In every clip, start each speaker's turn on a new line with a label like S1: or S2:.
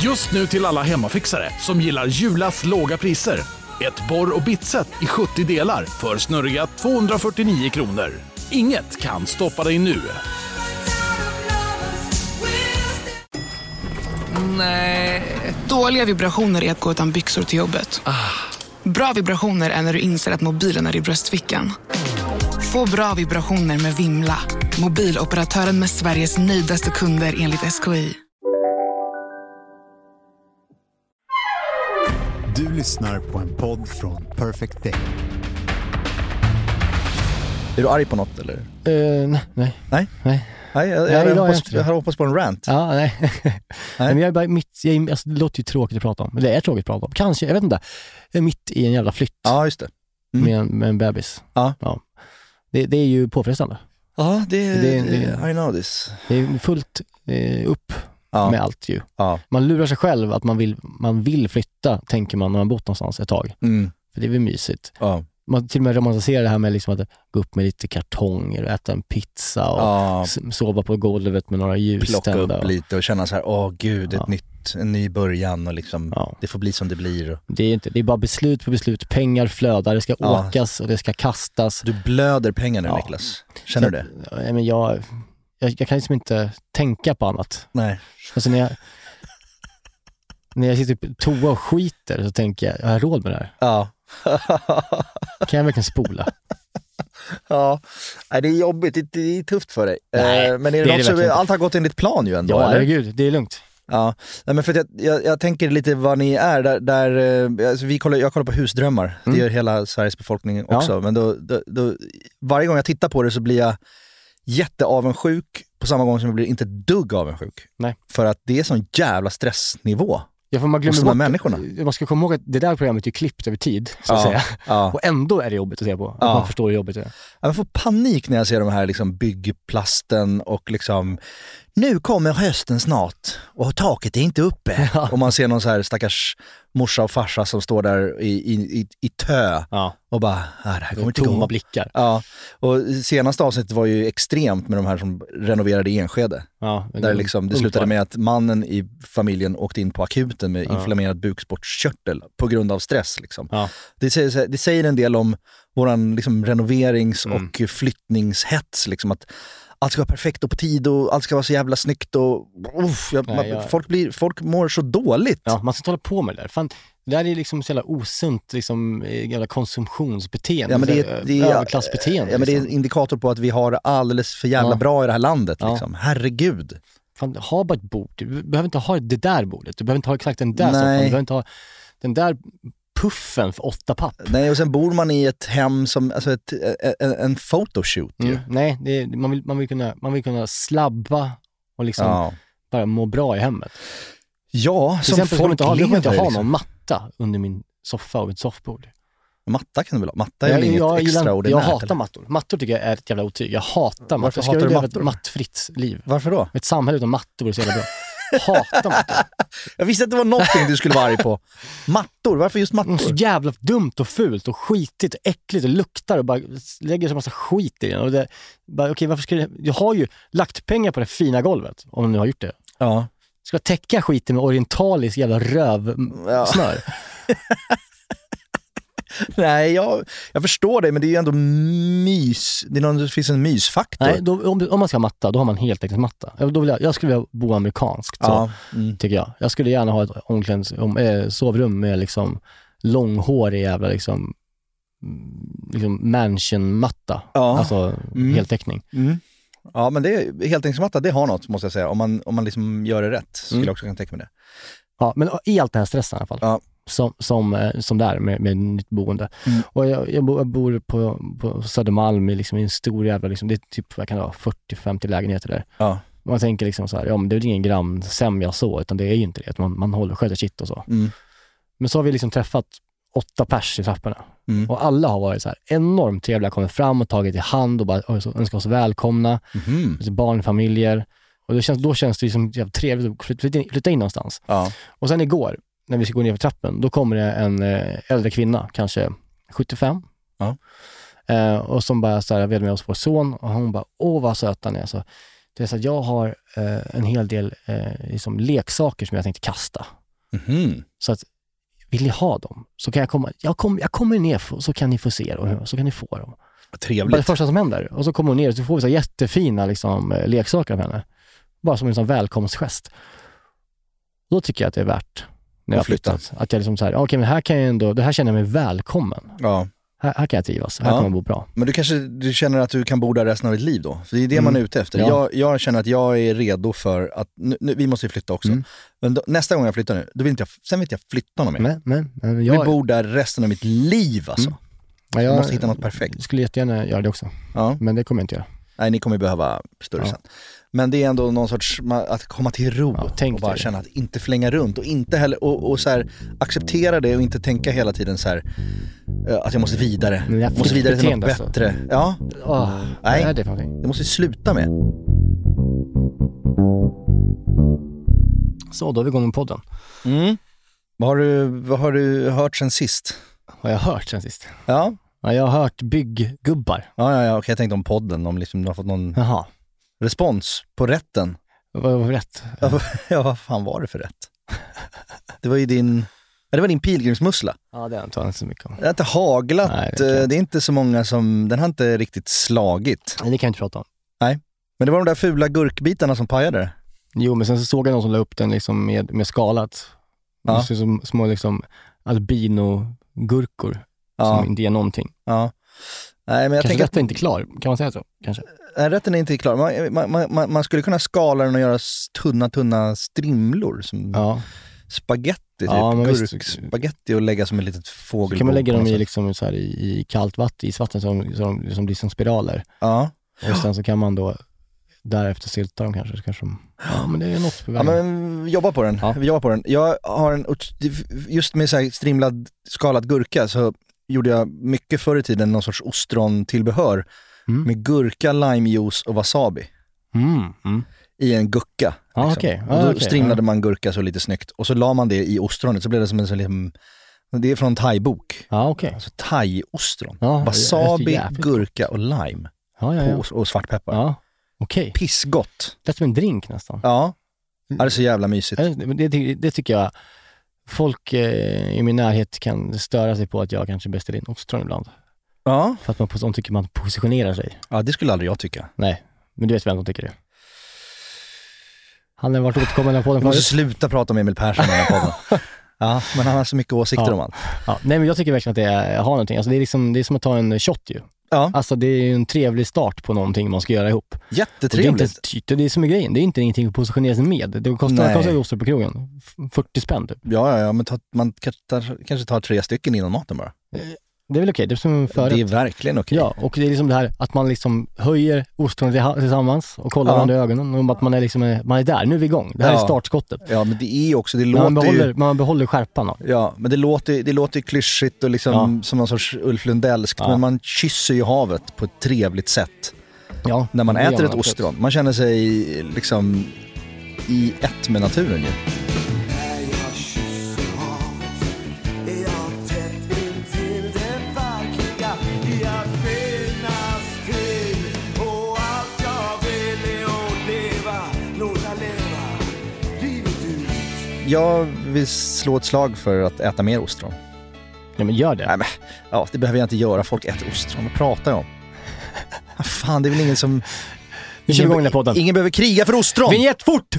S1: Just nu till alla hemmafixare som gillar Julas låga priser. Ett borr och bitset i 70 delar för snurriga 249 kronor. Inget kan stoppa dig nu.
S2: Nej. Dåliga vibrationer är att gå utan byxor till jobbet. Bra vibrationer är när du inser att mobilen är i bröstfickan. Få bra vibrationer med Vimla. Mobiloperatören med Sveriges nöjdaste kunder enligt SKI.
S3: Du lyssnar på en podd från Perfect Day.
S4: Är du arg på något eller?
S5: Eh, nej, nej.
S4: Nej?
S5: Nej.
S4: Nej, jag,
S5: Nej,
S4: jag, hade
S5: idag är jag
S4: hoppats,
S5: inte det.
S4: jag hade hoppats på en rant.
S5: Ja, nej. nej. men jag är bara mitt, jag, är- alltså, det låter ju tråkigt att prata om. Eller Det är tråkigt att prata om. Kanske, jag vet inte. Jag är mitt i en jävla flytt
S4: Ja, just det. Mm.
S5: med, en, med en bebis.
S4: Ja.
S5: Det, det är ju påfrestande.
S4: Ja, det,
S5: Det-
S4: I know this.
S5: Det är ju fullt eh, upp
S4: Ja,
S5: med allt ju.
S4: ja.
S5: Man lurar sig själv att man vill, man vill flytta, tänker man när man bott någonstans ett tag.
S4: Mm.
S5: För det är väl mysigt.
S4: ja.
S5: Man till och med romantiserar det här med liksom att gå upp med lite kartonger och äta en pizza och
S4: ja.
S5: s- sova på golvet med några ljus
S4: Plocka
S5: tända
S4: upp
S5: och-
S4: lite och känna så här, åh gud, ett
S5: Ja.
S4: nytt, en ny början och liksom,
S5: Ja.
S4: det får bli som det blir. Och
S5: Det är, inte, det är bara beslut på beslut. Pengar flödar, det ska
S4: Ja.
S5: åkas och det ska kastas.
S4: Du blöder pengar nu
S5: Ja.
S4: Niklas. Känner du det?
S5: Så att, nej, men jag, jag, jag kan liksom inte tänka på annat.
S4: Nej.
S5: Alltså när jag, när jag sitter på toa och skiter så tänker jag, har jag råd med det här?
S4: Ja.
S5: Kan jag verkligen spola?
S4: ja. Nej, det är jobbigt, det, det är tufft för dig.
S5: Nej,
S4: Eh, men är det,
S5: det är
S4: något
S5: det
S4: som,
S5: verkligen inte.
S4: allt har gått enligt plan ju ändå,
S5: ja,
S4: eller?
S5: herregud, det är lugnt.
S4: Ja, Nej, men för att jag, jag, jag tänker lite vad ni är. Där, där, eh, alltså vi kollar, jag kollar på husdrömmar, det
S5: Mm.
S4: gör hela Sveriges befolkning
S5: Ja.
S4: också. Men då, då, då, varje gång jag tittar på det så blir jag jätteavundsjuk på samma gång som jag blir inte ett dugg avundsjuk.
S5: Nej.
S4: För att det är sån jävla stressnivå
S5: Ja, för man
S4: hos
S5: glömmer
S4: de här
S5: bort,
S4: människorna.
S5: man ska komma ihåg att det där programmet är ju klippt över tid, så att
S4: Ja.
S5: säga.
S4: Ja.
S5: Och ändå är det jobbigt att se på. Att
S4: Ja.
S5: Man förstår hur jobbigt det är.
S4: Jag får panik när jag ser de här liksom byggplasten och liksom nu kommer hösten snart och taket är inte uppe.
S5: Ja.
S4: Och man ser någon så här stackars morsa och farsa som står där i, i, i, i tö
S5: Ja,
S4: och bara, ah, det här kommer inte
S5: tomma
S4: gå.
S5: blickar.
S4: Ja, och senaste avsnittet var ju extremt med de här som renoverade i Enskede.
S5: Ja, men
S4: Där
S5: är
S4: liksom det
S5: ungt
S4: slutade
S5: barn.
S4: med att mannen i familjen åkte in på akuten med
S5: Ja.
S4: inflammerad bukspottkörtel på grund av stress. Liksom.
S5: Ja.
S4: Det, säger, det säger en del om vår liksom, renoverings
S5: Mm.
S4: och flyttningshets. Liksom, att allt ska vara perfekt och på tid och allt ska vara så jävla snyggt. Och, uff, jag,
S5: Nej,
S4: man,
S5: jag-
S4: Folk, blir, folk mår så dåligt.
S5: Ja, man ska inte hålla på med det där. Fan, det där är liksom så jävla osunt liksom, eh, jävla konsumtionsbeteende.
S4: Ja, men det är-
S5: så här,
S4: det är-
S5: överklassbeteende.
S4: Ja, men det är en
S5: liksom.
S4: indikator på att vi har det alldeles för jävla
S5: Ja.
S4: bra i det här landet.
S5: Ja.
S4: Liksom. Herregud.
S5: Fan, ha bara ett bord. Du behöver inte ha det där bordet. Du behöver inte ha exakt den där
S4: Nej.
S5: soffan. Du behöver inte ha den där puffen för åtta papp.
S4: Nej, och sen bor man i ett hem som, alltså ett, ä- ä- en photoshoot ju.
S5: Mm. Nej, det är, man, vill, man, vill kunna, man vill kunna slabba och liksom
S4: Ja.
S5: bara må bra i hemmet.
S4: ja,
S5: Till
S4: som
S5: exempel kommer
S4: folk
S5: inte ha, jag kommer inte
S4: lever
S5: ha
S4: liksom.
S5: någon matta under min soffa och ett soffbord.
S4: liksom. Matta kan du väl ha? Matta är väl inget
S5: jag, gillar- jag
S4: extraordinärt?
S5: hatar
S4: eller?
S5: mattor. Mattor tycker jag är ett jävla otyg. Jag hatar mattor.
S4: Varför
S5: Ska vi
S4: hatar du
S5: leva
S4: mattor?
S5: ett mattfritt liv?
S4: Varför då?
S5: Ett samhälle utan mattor vore så jävla bra. Hatar mattor.
S4: Jag visste att det var någonting du skulle vara arg på. Mattor, varför just
S5: Mm, Så
S4: mattor?
S5: jävla dumt och fult och skitigt och äckligt och luktar och bara lägger så massa skit i den. Och det, bara, okej, varför ska det, jag har ju lagt pengar på det fina golvet, om du nu har gjort det.
S4: Ja.
S5: Ska jag täcka skiten med orientalisk jävla
S4: Ja.
S5: rövsnör?
S4: Nej, jag, jag förstår dig, men det är ju ändå mys. Det, är någon, det finns en mysfaktor.
S5: Nej, då, om, om man ska ha matta, då har man heltäckningsmatta. Ja, Då vill jag, jag skulle vilja bo amerikanskt, så,
S4: ja. Mm.
S5: tycker jag. Jag skulle gärna ha ett omklädnings, om, eh, sovrum med liksom långhårig jävla liksom, mm, liksom mansionmatta.
S4: Ja.
S5: Alltså
S4: Mm.
S5: heltäckning.
S4: Mm. Ja, men det är heltäckningsmatta, det har något måste jag säga. Om man, om man liksom gör det rätt skulle
S5: Mm.
S4: jag också kunna tänka mig det.
S5: Ja, men i allt den här stressen i alla fall.
S4: Ja.
S5: Som, som, eh, som där med, med nytt boende.
S4: Mm.
S5: Och jag, jag, bo, jag bor på, på Södermalm i, liksom, i en stor jävla, liksom, det är typ vad kan det vara, 40-50 lägenheter där.
S4: Ja.
S5: Man tänker liksom så här, ja men det är väl ingen grannsämja så, utan det är ju inte det. Att man, man håller, sköter sitt och så.
S4: Mm.
S5: Men så har vi liksom träffat åtta pers i trapporna.
S4: Mm.
S5: Och alla har varit så här enormt trevliga, kommit fram och tagit i hand och bara "Oj, så önskat oss välkomna.
S4: Mhm.
S5: Lite Barnfamiljer. Och det känns, då känns det ju som jävligt trevligt att flytta in, flytta in någonstans.
S4: Ja.
S5: Och sen igår, när vi skulle gå ner för trappen, då kommer det en eh, äldre kvinna, kanske 75.
S4: Ja.
S5: Eh, och som bara så här, jag med oss vår son och hon bara, åh vad söta ni är. Så, Det är så att jag har eh, en hel del eh, liksom leksaker som jag tänkte kasta.
S4: Mhm.
S5: Så att vill ni ha dem så kan jag komma, jag, kom, jag kommer ner f- så kan ni få se dem, så kan ni få dem.
S4: Vad
S5: Det var det
S4: Trevligt.
S5: första som händer. Och så kommer hon ner och så får vi så här jättefina liksom, eh, leksaker av henne. Bara som en sån välkomstgest. Då tycker jag att det är värt när jag har
S4: Att flytta.
S5: flyttat. Att jag liksom så här, okej men här kan jag ändå, det här känner jag mig välkommen.
S4: Ja.
S5: Här, här kan jag trivas, här
S4: Ja.
S5: kan man bo bra.
S4: Men du kanske du känner att du kan bo där resten av ditt liv då? För det är det man är ute efter.
S5: Ja.
S4: Jag, jag känner att jag är redo för att, nu, nu, vi måste ju flytta också. Men då, nästa gång jag flyttar nu, då vill inte jag, sen vill inte jag flytta någon mer.
S5: Men, men, men
S4: Jag vill
S5: jag,
S4: bo där resten av mitt liv alltså.
S5: jag,
S4: Jag måste hitta något perfekt.
S5: skulle jättegärna göra det också,
S4: Ja.
S5: men det kommer jag inte göra.
S4: Nej, ni kommer ju behöva större
S5: Ja.
S4: sen. Men det är ändå någon sorts, ma- att komma till ro
S5: Ja, tänk
S4: och bara
S5: dig.
S4: känna att inte flänga runt och inte heller, och, och så här, acceptera det och inte tänka hela tiden så här eh, att jag måste vidare,
S5: Men det är
S4: måste vidare till något
S5: flyttbeteende, alltså.
S4: bättre. Ja,
S5: Åh,
S4: Ah. Nej.
S5: Mm. Vad är det för någonting?
S4: det måste vi sluta med.
S5: Så, då är vi igång med podden. Mm.
S4: Vad har du, vad har du hört sen sist?
S5: Har jag hört sen sist?
S4: Ja,
S5: Ja, jag har hört bygggubbar.
S4: ja, ja, ja okej, jag tänkte om podden, om liksom du har fått någon
S5: Jaha.
S4: respons på rätten.
S5: Vad var rätt?
S4: Ja, vad- ja, vad fan var det för rätt? Det var ju din, ja, det var din pilgrimsmussla.
S5: Ja, det har jag inte hört så mycket om.
S4: Det har inte haglat,
S5: Nej,
S4: eh,
S5: det kan jag
S4: det,
S5: inte.
S4: är inte så många som, den har inte riktigt slagit.
S5: Nej, det kan jag inte prata om.
S4: Men det var de där fula gurkbitarna som pajade det.
S5: Jo, men sen så såg jag någon som la upp den liksom med, med skalat.
S4: Ja.
S5: Det ser ut som små liksom albino-gurkor
S4: Ja,
S5: som inte är någonting.
S4: ja. Nej, men jag
S5: Kanske
S4: tänker
S5: detta är inte klar, kan man säga så? Kanske.
S4: att äh, rätten är inte klar. Man, man- man, man, man skulle kunna skala den och göra s- tunna, tunna strimlor. Som
S5: Ja,
S4: spagetti, typ.
S5: Ja, men visst.
S4: Gurkspagetti och lägga som ett litet
S5: så
S4: fågelbo.
S5: kan man lägga
S4: på
S5: dem
S4: något
S5: i,
S4: sätt.
S5: liksom, så här, i, i kallt vatten, isvatten, så de, så de som blir som spiraler.
S4: Ja.
S5: Och sen så kan man då därefter sylta dem kanske. Så kanske de, ja, men det är något på
S4: ja,
S5: vägen.
S4: men jobba på den.
S5: Ja.
S4: Vi jobbar på den. Jag har en, just med så här strimlad, skalad gurka så gjorde jag mycket förr i tiden någon sorts ostrontillbehör
S5: Mm.
S4: med gurka, limejuice och wasabi
S5: Mm, mm.
S4: i en gucka.
S5: Ja,
S4: liksom.
S5: Ah, okej. Ja,
S4: och då
S5: okej.
S4: strimlade
S5: Ja.
S4: man gurka så lite snyggt och så la man det i ostronet så blev det som en sån liten, det är från thaibok.
S5: Ja, okej.
S4: Alltså thai-ostron.
S5: Ja, det låter
S4: wasabi,
S5: jävligt gott.
S4: gurka och lime
S5: Ja, ja, ja.
S4: på, och svartpeppar.
S5: ja. Okej.
S4: Pissgott.
S5: Lät som en drink nästan.
S4: Ja. Ja, Det är så jävla mysigt.
S5: Ja, men Det, ty- det tycker jag. Folk eh, i min närhet kan störa sig på att jag kanske beställer in ostron ibland.
S4: Ja.
S5: För att man, de tycker man positionerar sig.
S4: ja, det skulle aldrig jag tycka.
S5: Nej, men du vet vem som tycker det. Han har varit återkommande på den
S4: Vi måste
S5: förut.
S4: sluta prata om Emil Persson i den här podden. Ja, men han har så mycket åsikter
S5: Ja.
S4: om allt.
S5: Ja, nej, men jag tycker verkligen att det är, har någonting. Alltså, det, är liksom, det är som att ta en shot ju.
S4: Ja.
S5: Alltså det är ju en trevlig start på någonting man ska göra ihop. Och Det är, inte, ens
S4: Jättetrevligt.
S5: dyrt, det är som är grejen, det är inte ingenting att positionera sig med. Det kostar,
S4: Nej.
S5: kostar ju ostron på krogen, F- 40 spänn typ.
S4: Ja, ja, ja, men ta, man kanske tar, kanske tar tre stycken innan maten bara.
S5: Det är väl okej, det är som en förrätt.
S4: Det är verkligen okej.
S5: Ja, och det är liksom det här att man liksom höjer ostronet tillha- tillsammans och kollar
S4: Ja.
S5: varandra i ögonen och att man är, liksom, eh, man är där, nu är vi igång. Det här
S4: Ja.
S5: är startskottet.
S4: Ja, men det är ju också, det
S5: Men Man
S4: låter
S5: behåller,
S4: ju...
S5: man behåller skärpan. då.
S4: Ja, men det låter, det låter ju klyschigt och liksom som någon sorts Ulf Lundellskt,
S5: Ja.
S4: men man kysser ju havet på ett trevligt sätt
S5: Ja,
S4: när man
S5: det gör
S4: äter ett
S5: absolut.
S4: ostron. Man känner sig liksom i ett med naturen ju. Jag vill slå ett slag för att äta mer ostron.
S5: Ja, men gör det.
S4: Nej men, ja, det behöver jag inte göra. Folk äter ostron. Vad pratar jag om? Ah, Fan, det är väl ingen som...
S5: Nu kör vi igång den här podden.
S4: Ingen behöver kriga för ostron!
S5: Vinjett, fort!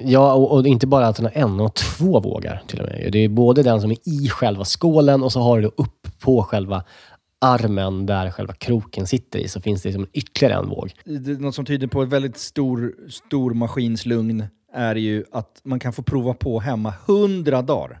S5: Ja, och, och inte bara att den har en och två vågar till och med. Det är både den som är i själva skålen och så har du då upp på själva armen där själva kroken sitter i, så finns det liksom ytterligare en våg.
S4: Det, är något som tyder på ett väldigt stor, stor maskinslugn är ju att man kan få prova på hemma 100 dagar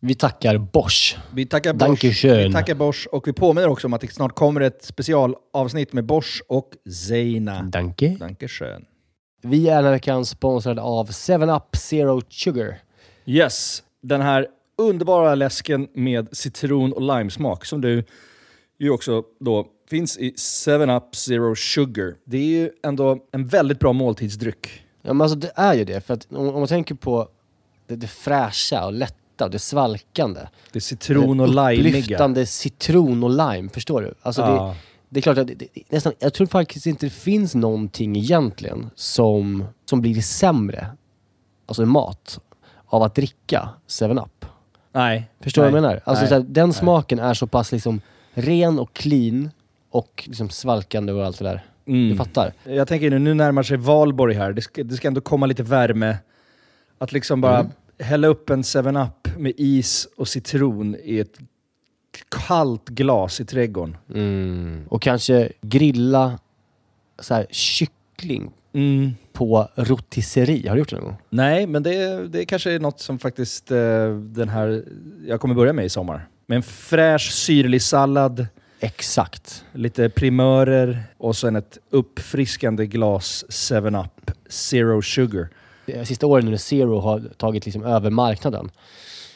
S5: Vi tackar Bosch.
S4: Vi tackar, Bosch,
S5: Dankeschön.
S4: vi tackar Bosch och vi påminner också om att det snart kommer ett specialavsnitt med Bosch och Zeina.
S5: Danke.
S4: Dankeschön.
S5: Vi är den här veckan sponsrade av 7up Zero Sugar.
S4: Yes, den här underbara läsken med citron och limesmak som du ju också då finns i 7-Up Zero Sugar. Det är ju ändå en väldigt bra måltidsdryck.
S5: Ja, men alltså det är ju det. För att om, om man tänker på det, det fräscha och lätta och det svalkande.
S4: Det är citron och
S5: Det
S4: limeiga.
S5: Upplyftande citron och lime, förstår du? Alltså
S4: Ja.
S5: det, det är klart att det, det, det- nästan, jag tror faktiskt inte det finns någonting egentligen som, som blir sämre, alltså i mat, av att dricka 7-Up.
S4: Nej.
S5: Förstår du vad jag menar? Alltså,
S4: Nej.
S5: så här, den smaken är så pass liksom ren och clean och liksom svalkande och allt det där.
S4: Mm.
S5: Du fattar?
S4: Jag tänker nu, nu närmar sig valborg här. Det ska, det ska ändå komma lite värme. Att liksom bara hälla upp en 7-Up med is och citron i ett kallt glas i trädgården.
S5: Och kanske grilla så här, kyckling på rotisserie. Har du gjort det någon gång?
S4: Mm. Nej, men det, det kanske är något som faktiskt eh, den här, jag kommer börja med i sommar. Med en fräsch syrlig sallad,
S5: Exakt.
S4: lite primörer och sen ett uppfriskande glas 7-Up Zero Sugar.
S5: De eh, sista åren när Zero har tagit liksom över marknaden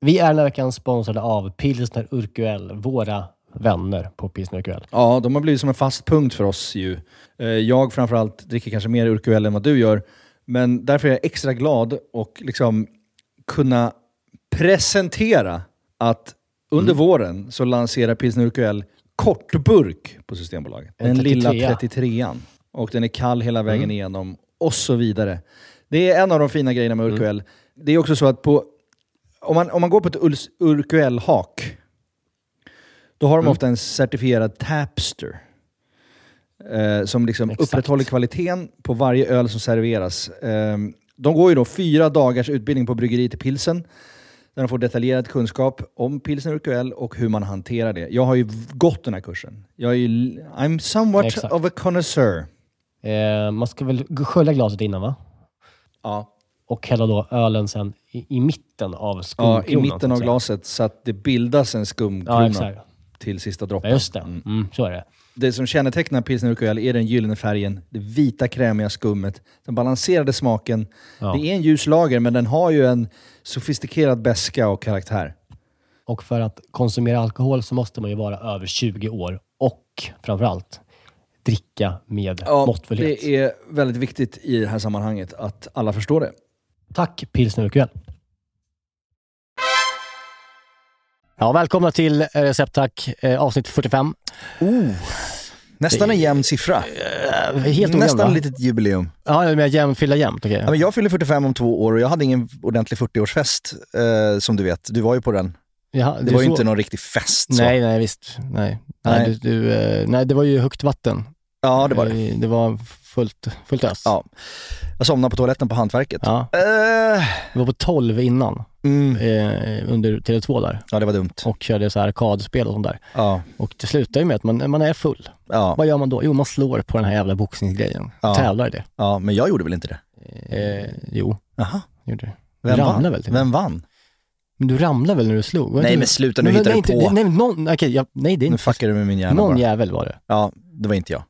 S5: Vi är den här veckan sponsrade av Pilsner Urquell, våra vänner på Pilsner Urquell.
S4: Ja, de har blivit som en fast punkt för oss ju. Eh, Jag framförallt dricker kanske mer Urquell än vad du gör, men därför är jag extra glad och liksom kunna presentera att under våren så lanserar Pilsner Urquell kortburk på Systembolaget.
S5: En
S4: Den lilla
S5: 33.
S4: 33an. Och den är kall hela vägen igenom och så vidare. Det är en av de fina grejerna med Urquell. Det är också så att på, om, man, om man går på ett Urs- Urquell-hak då
S5: Mm.
S4: har de ofta en certifierad tapster. Eh, som liksom
S5: Exakt.
S4: upprätthåller kvaliteten på varje öl som serveras. Eh, de går ju då fyra dagars utbildning på bryggeriet i Pilsen. Där de får detaljerad kunskap om pilsner urquell och hur man hanterar det. Jag har ju v- gått den här kursen. Jag är ju, l- I'm somewhat
S5: Exakt.
S4: of a connoisseur.
S5: Eh, man ska väl g- skölja glaset innan va?
S4: Ja,
S5: Och hälla då ölen sen i, i mitten av
S4: ja,
S5: skumkronan.
S4: I
S5: så
S4: mitten
S5: att
S4: av
S5: säga.
S4: glaset så att det bildas en skumkrona
S5: Ja, exakt.
S4: till sista
S5: Ja,
S4: droppen.
S5: just det. Mm, så är det.
S4: Det som kännetecknar pilsner urquell är den gyllene färgen, det vita krämiga skummet, den balanserade smaken.
S5: Ja.
S4: Det är en ljus lager, men den har ju en sofistikerad beska och karaktär.
S5: Och för att konsumera alkohol så måste man ju vara över 20 år och framförallt dricka med måttfullhet.
S4: det är väldigt viktigt i det här sammanhanget att alla förstår det.
S5: Tack Pilsner Urquell. Ja, välkomna till eh, Recepttack, eh, avsnitt 45.
S4: Nästan en jämn siffra.
S5: Eh, Helt ojämn,
S4: Nästan
S5: va?
S4: ett litet jubileum.
S5: Ja, men jämn, fylla jämnt. Okej.
S4: Ja, men jag fyller 45 om två år och jag hade ingen ordentlig 40-årsfest, eh, som du vet. Du var ju på den.
S5: Jaha,
S4: Det
S5: är
S4: var ju
S5: så-
S4: inte någon riktig fest. Så.
S5: Nej, nej, visst. Nej, nej.
S4: Nej.
S5: du, du, eh, nej det var ju högt vatten.
S4: Ja, det var det.
S5: Eh, Det var fullt, fullt ös.
S4: Ja. Jag somnade på toaletten på Hantverket.
S5: Ja,
S4: Eh,
S5: vi var på 12 innan,
S4: mm.
S5: eh, under Tele2 där,
S4: Ja, det var dumt.
S5: och körde så här arkadspel och sånt där.
S4: Ja,
S5: Och det slutar ju med att man, man är full.
S4: ja,
S5: Vad gör man då? Jo, man slår på den här jävla boxningsgrejen.
S4: Ja. Eh,
S5: Tävlar i det.
S4: ja, men jag gjorde väl inte det?
S5: Eh, jo,
S4: Jaha.
S5: gjorde det.
S4: Vem
S5: Ramlade
S4: vann?
S5: väl till och med.
S4: Vem vann?
S5: Men du ramlade väl när du slog? Var
S4: Nej
S5: inte-
S4: men sluta, nu
S5: Men-
S4: hittar
S5: nej,
S4: du
S5: inte,
S4: på.
S5: Nej, men någon, okej, jag, nej, det är
S4: Nu
S5: inte...
S4: fuckar du med min hjärna
S5: någon
S4: bara.
S5: jävel var det.
S4: Ja, det var inte jag.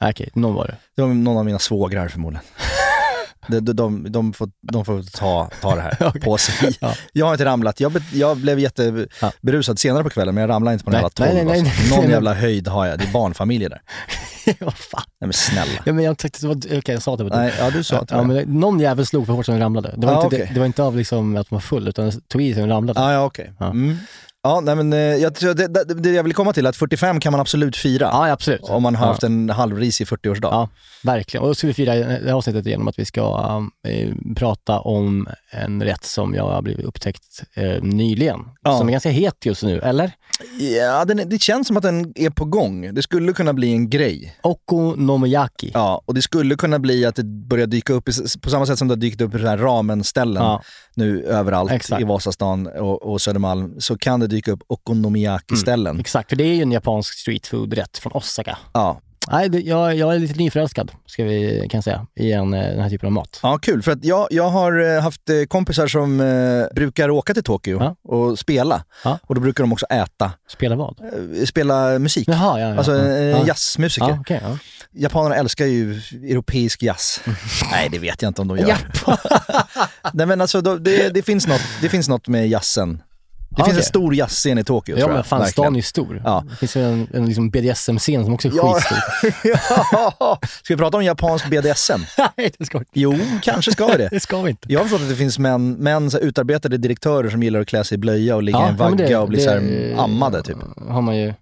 S5: Nej, Okej, någon var det.
S4: Det var någon av mina svågrar förmodligen. De, de, de, de, får, de får ta, ta det här på sig.
S5: Ja.
S4: Jag har inte ramlat. Jag, be, jag blev
S5: Ja.
S4: jätteberusad senare på kvällen, men jag ramlade inte på någon
S5: Nej,
S4: jävla tolv.
S5: nej, nej, nej,
S4: alltså.
S5: nej,
S4: Någon
S5: nej.
S4: jävla höjd har jag. Det är barnfamiljer där.
S5: Vad fan?
S4: Nej men snälla.
S5: Ja, men jag tyckte det var... Okej, jag sa det. var du.
S4: Nej, ja, du sa att det
S5: Ja,
S4: var
S5: men
S4: jag.
S5: det- någon jävel slog för hårt så den ramlade. Det var,
S4: Ja,
S5: inte,
S4: okej.
S5: det, det var inte av liksom att man var full, utan den tog i sig och den ramlade.
S4: Ja, ja okej.
S5: Ja.
S4: Mm. Ja, nej men eh, jag, tror- det, det, det jag vill komma till är att 45 kan man absolut fira.
S5: Ja, ja, absolut.
S4: Om man har haft
S5: ja,
S4: en halvrisig 40-årsdag.
S5: Ja. Verkligen. Och då ska vi fira det här avsnittet genom att vi ska um, eh, prata om en rätt som jag har blivit upptäckt eh, nyligen.
S4: Ja.
S5: Som är ganska het just nu, eller?
S4: Ja, den, är- det känns som att den är på gång. Det skulle kunna bli en grej.
S5: Okonomiyaki.
S4: Ja, och det skulle kunna bli att det börjar dyka upp, i s- på samma sätt som det har dykt upp så här ramen-ställen
S5: Ja.
S4: nu överallt
S5: Exakt.
S4: i Vasastan och, och Södermalm, så kan det dyka upp okonomiyaki-ställen.
S5: Exakt, för det är ju en japansk streetfood-rätt från Osaka.
S4: Ja.
S5: Nej, det, jag, jag är lite nyförälskad, ska vi, kan jag säga, i en, eh, den här typen av mat.
S4: ja, kul. För att jag, jag har eh, haft eh, kompisar som eh, brukar åka till Tokyo
S5: Ja.
S4: och spela.
S5: Ja.
S4: Och då brukar de också äta,
S5: Spela vad?
S4: eh, spela musik.
S5: Jaha, ja. ja
S4: Alltså
S5: ja,
S4: eh,
S5: ja.
S4: jazzmusiker.
S5: Ja, okej, ja.
S4: Japanerna älskar ju europeisk jazz.
S5: Mm.
S4: Nej, det vet jag inte om de gör. Nej, men alltså, då- det, det, finns något, det finns något med jazzen. Det
S5: Ah,
S4: finns en
S5: okej.
S4: stor jazzscen i Tokyo,
S5: Ja
S4: tror
S5: men
S4: jag.
S5: fan,
S4: verkligen.
S5: stan är ju stor.
S4: Ja.
S5: Det finns ju en, en liksom BDSM-scen som också är
S4: Ja.
S5: skitstor.
S4: ja. Ska vi prata om japansk BDSM?
S5: Nej, det ska, vi inte.
S4: Jo, kanske ska vi det.
S5: det ska vi inte.
S4: Jag har förstått att det finns män, män så här, utarbetade direktörer som gillar att klä sig i blöja och ligga i en
S5: men
S4: vagga
S5: det-
S4: och bli
S5: det-
S4: så här, ammade, typ.
S5: har man ju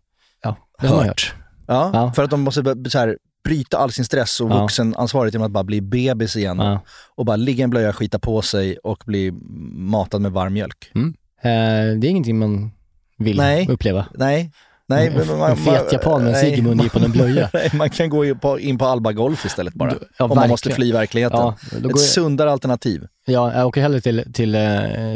S5: ja, det har man hört.
S4: Ja,
S5: Ja.
S4: För att de måste bör- så här, bryta all sin stress och
S5: Ja.
S4: vuxenansvaret genom att bara bli bebis igen.
S5: Ja.
S4: Och bara ligga i en blöja, skita på sig och bli matad med varm mjölk.
S5: Mm. Eh, det är ingenting man vill
S4: Nej.
S5: uppleva.
S4: Nej. Nej,
S5: Mm. En-
S4: men man,
S5: en fet japan med en
S4: nej,
S5: cigg i munnen på en blöja.
S4: Nej, man kan gå in på, in på Alba Golf istället bara.
S5: Ja,
S4: om man
S5: verkligen.
S4: måste fly verkligheten.
S5: Ja, då
S4: Ett
S5: går jag,
S4: sundare alternativ.
S5: ja, jag åker hellre till, till eh,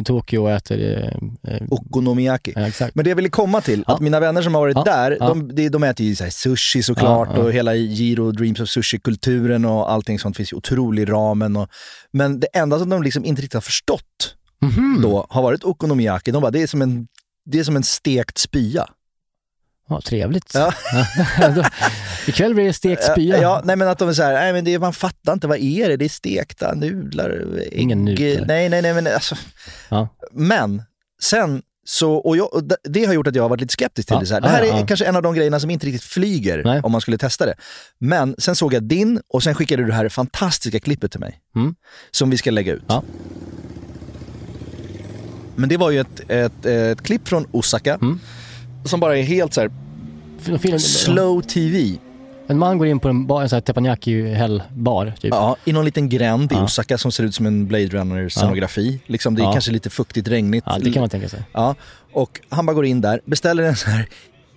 S5: Tokyo och äter... eh, Eh,
S4: Oh. Okonomiyaki.
S5: ja, exakt.
S4: Men det jag ville komma till,
S5: Ja.
S4: att mina vänner som har varit
S5: Ja,
S4: där,
S5: ja.
S4: de, de, de äter ju så här sushi såklart
S5: Ja, ja.
S4: och hela Giro Dreams of Sushi-kulturen och allting sånt finns ju otrolig ramen. Och, men det enda som de liksom inte riktigt har förstått
S5: Mhm.
S4: då har varit okonomiyaki. De bara, det är som en, det är som en stekt spya.
S5: Ja, trevligt.
S4: Ja.
S5: Då- Ikväll blir det stekt spya.
S4: Eh, Ja, nej men att de är så här, nej men det, man fattar inte, vad är det? Det är stekta nudlar, ägg.
S5: Ingen nudlar.
S4: Nej, nej, nej men alltså.
S5: Ja.
S4: Men sen så, och, jag, och det- det har gjort att jag har varit lite skeptisk till
S5: Ja,
S4: det. Så här. Det
S5: ja,
S4: här är
S5: ja.
S4: kanske en av de grejerna som inte riktigt flyger
S5: Nej.
S4: om man skulle testa det. Men sen såg jag din och sen skickade du det här fantastiska klippet till mig.
S5: Mm.
S4: Som vi ska lägga ut.
S5: Ja.
S4: Men det var ju ett, ett, ett klipp från Osaka
S5: Mm.
S4: som bara är helt så här
S5: F- filmen-
S4: slow tv.
S5: En man går in på en, bar, en sån här teppanyaki-häll-bar, typ.
S4: Ja, i någon liten gränd i
S5: Ja.
S4: Osaka som ser ut som en Blade Runner-scenografi. Liksom, det är
S5: Ja.
S4: kanske lite fuktigt, regnigt.
S5: Ja, det kan man tänka sig.
S4: Ja, och han bara går in där, beställer en sån här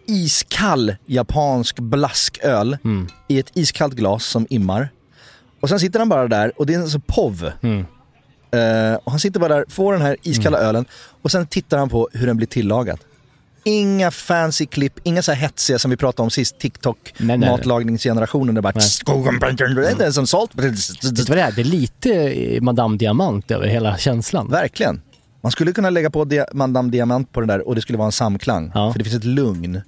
S4: iskall japansk blasköl
S5: Mm.
S4: i ett iskallt glas som immar. Och sen sitter han bara där och det är en sån POV.
S5: Mm.
S4: Eh, och han sitter bara där, får den här iskalla ölen och sen tittar han på hur den blir tillagad. Inga fancy klipp, inga så här hetsiga som vi pratade om sist,
S5: Nej, nej.
S4: TikTok-matlagningsgenerationen. Det är bara...
S5: Nej. Mm.
S4: Skogen, det är som salt.
S5: Vet du vad det är? Det är lite eh, Madame Diamant över hela känslan.
S4: Verkligen. Man skulle kunna lägga på dia- Madame Diamant på den där och det skulle vara en samklang.
S5: Ja.
S4: För det finns ett lugn.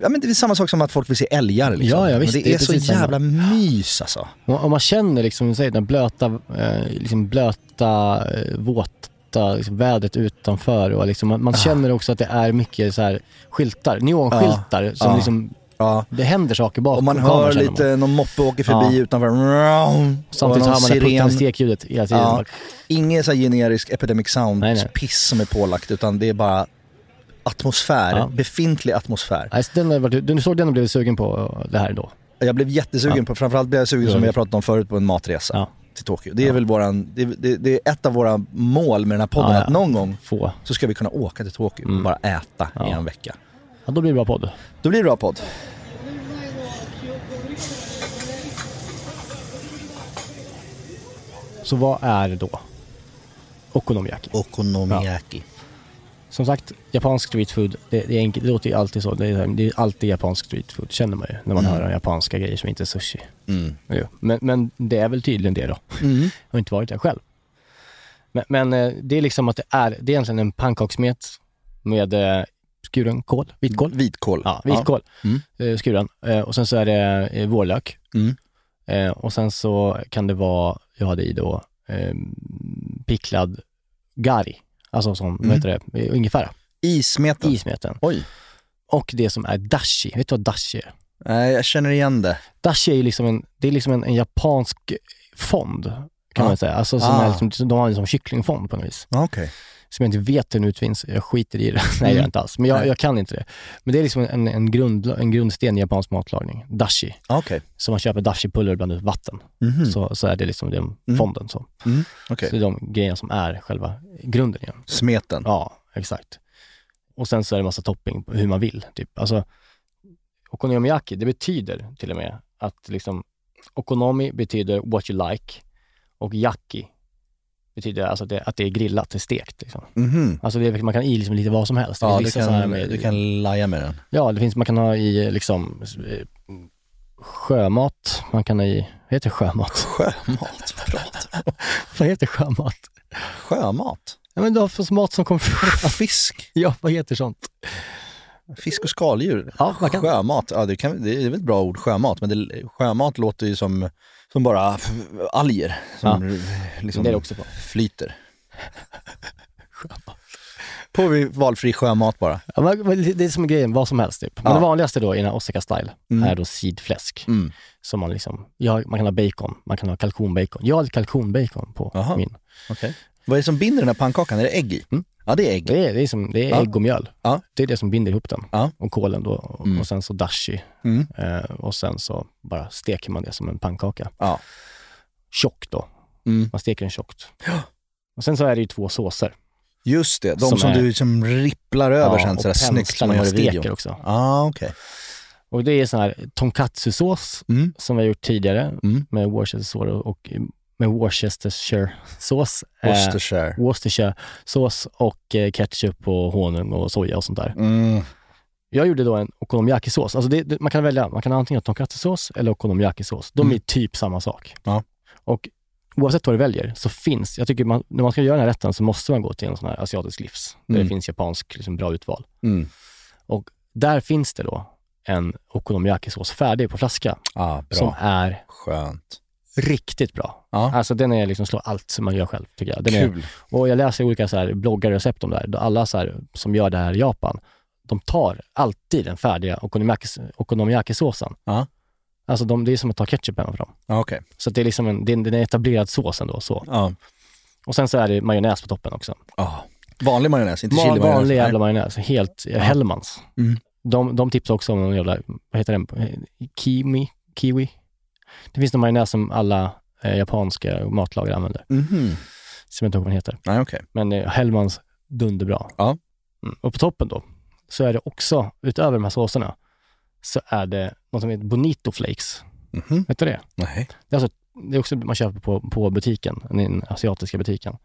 S4: Ja, men det är samma sak som att folk vill se älgar. Liksom.
S5: Ja, ja, visst,
S4: men det,
S5: det är
S4: är så
S5: precis samma.
S4: jävla mys alltså.
S5: Om om man känner liksom, som du säger, den blöta, eh, liksom blöta eh, våta liksom, vädret utanför och liksom, man,
S4: Ah.
S5: man känner också att det är mycket så här skyltar, neonskyltar som
S4: Ja.
S5: liksom,
S4: Ja.
S5: det händer saker bakom
S4: Ah. Och man
S5: kameran,
S4: hör
S5: känner man.
S4: lite, någon moppe åker förbi
S5: Ja.
S4: utanför. Och
S5: Samtidigt så
S4: någon Ah.
S5: hör man det puttande stekljudet hela tiden.
S4: Ja.
S5: Bara-
S4: Ingen så här generisk epidemic
S5: Nej, nej.
S4: sound-piss som är pålagt, utan det är bara atmosfär,
S5: Ja.
S4: befintlig atmosfär.
S5: Nej, så den har jag varit, du såg den och blev sugen på det här då?
S4: Jag blev jättesugen
S5: Ja.
S4: på, framförallt blev jag sugen som
S5: Ja.
S4: vi har pratat om förut på en matresa
S5: Ja.
S4: till Tokyo. Det är
S5: Ja.
S4: väl våran, det, det, det är ett av våra mål med den här podden,
S5: Ja, ja.
S4: att någon gång
S5: Få.
S4: så ska vi kunna åka till Tokyo och
S5: Mm.
S4: bara äta
S5: Ja.
S4: i en vecka.
S5: Ja, då blir det bra podd.
S4: Då blir det bra podd.
S5: Så vad är det då? Okonomiyaki.
S4: Okonomiyaki.
S5: Som sagt, japansk street food, det, det, är enkelt, det låter ju alltid så. Det är, det är alltid japansk street food, känner man ju. När man
S4: Mm.
S5: hör om japanska grejer som inte är sushi.
S4: Mm.
S5: Jo. Men, men det är väl tydligen det då.
S4: Mm.
S5: Jag har inte varit där själv. Men, men eh, det är liksom att det är, det är egentligen en pannkakssmet med eh, skuren kål, vitkål.
S4: Vitkål.
S5: Ja, vitkål.
S4: Mm.
S5: Eh, skuren. Eh, och sen så är det eh, vårlök.
S4: Mm.
S5: Eh, och sen så kan det vara, jag hade i då, eh, picklad gari. Alltså som,
S4: Mm.
S5: vad heter det, Eh, ingefära
S4: Ismeten.
S5: i smeten.
S4: Oj.
S5: Och det som är dashi. Vet du vad dashi är?
S4: Nej, jag känner igen det.
S5: Dashi är ju liksom en, det är liksom en, en japansk fond kan
S4: Ah.
S5: man säga. Alltså som
S4: Ah.
S5: är liksom, de har en som kycklingfond på något vis.
S4: Ah, Okej.
S5: Som jag inte vet hur den utvinns. Jag skiter i det. Nej, jag gör inte alls. Men jag,
S4: Mm. Nej.
S5: jag kan inte det. Men det är liksom en, en, grund, en grundsten i japansk matlagning. Dashi.
S4: Ah, Okej.
S5: Så man köper dashi-pulver bland vatten.
S4: Mhm.
S5: Så, så är det liksom den
S4: Mm.
S5: fonden. Så.
S4: Mm. Okej.
S5: så det är de grejerna som är själva grunden igen.
S4: Smeten.
S5: Ja, exakt. Och sen så är det massa topping på hur man vill. Typ. Alltså, okonomiyaki, det betyder till och med att liksom, okonomi betyder what you like och yaki betyder alltså att det, att det är grillat, det är stekt. Liksom.
S4: Mhm.
S5: Alltså det, är- man kan i liksom lite vad som helst. Det
S4: Ja,
S5: finns
S4: du
S5: vissa såna här
S4: kan,
S5: med-
S4: du kan laja med den.
S5: Ja, det finns, man kan ha i liksom eh, sjömat, man kan ha i, vad heter sjömat?
S4: Sjömat, vad pratar du om?
S5: vad heter sjömat?
S4: Sjömat?
S5: Ja, men du har för mat som kommer
S4: Ja,
S5: från,
S4: Fisk?
S5: ja vad heter sånt?
S4: Fisk och skaldjur?
S5: Ja, man kan,
S4: Sjömat, ja, det, kan, det är väl ett bra ord, sjömat, men det, sjömat låter ju som, som bara f- alger som liksom
S5: det är det också på.
S4: flyter. På vi valfri sjömat bara.
S5: Ja, men- men det är som grejen, vad som helst typ. Men
S4: Ja.
S5: det vanligaste då i den här Osaka-style
S4: Mm.
S5: är då sidfläsk.
S4: Mm.
S5: Som man liksom, ja, man kan ha bacon, man kan ha kalkonbacon. Jag hade kalkonbacon på
S4: Aha.
S5: min.
S4: Vad är det som binder den här pannkakan? Är det ägg i?
S5: Mm.
S4: Ja, det är ägg.
S5: Det är, det är, som, det är
S4: Ja.
S5: ägg och mjöl.
S4: Ja.
S5: Det är det som binder ihop den.
S4: Ja.
S5: Och kålen då. Och,
S4: Mm.
S5: och sen så dashi.
S4: Mm.
S5: Eh, och sen så bara steker man det som en pannkaka.
S4: Ja.
S5: Tjockt då.
S4: Mm.
S5: Man steker den tjockt. Och sen så är det ju två såser.
S4: Just det, de som,
S5: Som är-
S4: du liksom ripplar över sen
S5: och
S4: sådär
S5: penslar
S4: snyggt som
S5: när
S4: man gör i
S5: steker
S4: videon.
S5: också.
S4: Ah, okej.
S5: Och det är sån här tonkatsu-sås
S4: Mm.
S5: som vi har gjort tidigare
S4: Mm.
S5: med Worcestershire och med Worcestershire-sås. Eh,
S4: Worcestershire.
S5: Worcestershire-sås och eh, ketchup och honung och soja och sånt där.
S4: Mm.
S5: Jag gjorde då en okonomiyaki-sås. Alltså det, det, man kan välja, man kan antingen ha tonkatsu-sås eller okonomiyaki-sås. De
S4: Mm.
S5: är typ samma sak.
S4: Ja.
S5: Och oavsett vad du väljer så finns, jag tycker man, när man ska göra den här rätten så måste man gå till en sån här asiatisk livs, där
S4: Mm.
S5: det finns japansk liksom, bra utval.
S4: Mm.
S5: Där finns det då en okonomiyaki-sås färdig på flaska
S4: Ah, bra.
S5: som är
S4: Skönt.
S5: riktigt bra.
S4: Ja.
S5: Alltså den är liksom slår allt som man gör själv tycker jag. Den är,
S4: Kul.
S5: och jag läser olika så här bloggarrecept om det här. Alla så här, som gör det här i Japan, de tar alltid den färdiga okonomiyaki- okonomiyaki-såsen.
S4: Ja.
S5: Alltså de, det är som att ta ketchup hemma för dem.
S4: Ah, okej.
S5: Så att det är liksom en, det är en, det är en etablerad sås ändå. Så.
S4: Ah.
S5: Och sen så är det majonnäs på toppen också.
S4: Ah. Vanlig majonnäs, inte
S5: Ma-
S4: chilimajonnäs.
S5: vanlig
S4: Nej.
S5: jävla majonnäs. Helt ja. Hellmans.
S4: Mm.
S5: De, de tipsar också om någon jävla, vad heter den, kiwi? kiwi. Det finns någon majonnäs som alla eh, japanska matlagare använder. Mm-hmm.
S4: Mhm.
S5: som jag inte ihåg vad den heter.
S4: Nej, okej.
S5: Men eh, Hellmans dunderbra.
S4: Ja.
S5: Mm. Och på toppen då, så är det också, utöver de här såserna, så är det något som heter Bonito Flakes.
S4: Mhm.
S5: Vet du det?
S4: Nej.
S5: Det är, alltså, det är också man köper på, på butiken, den asiatiska butiken.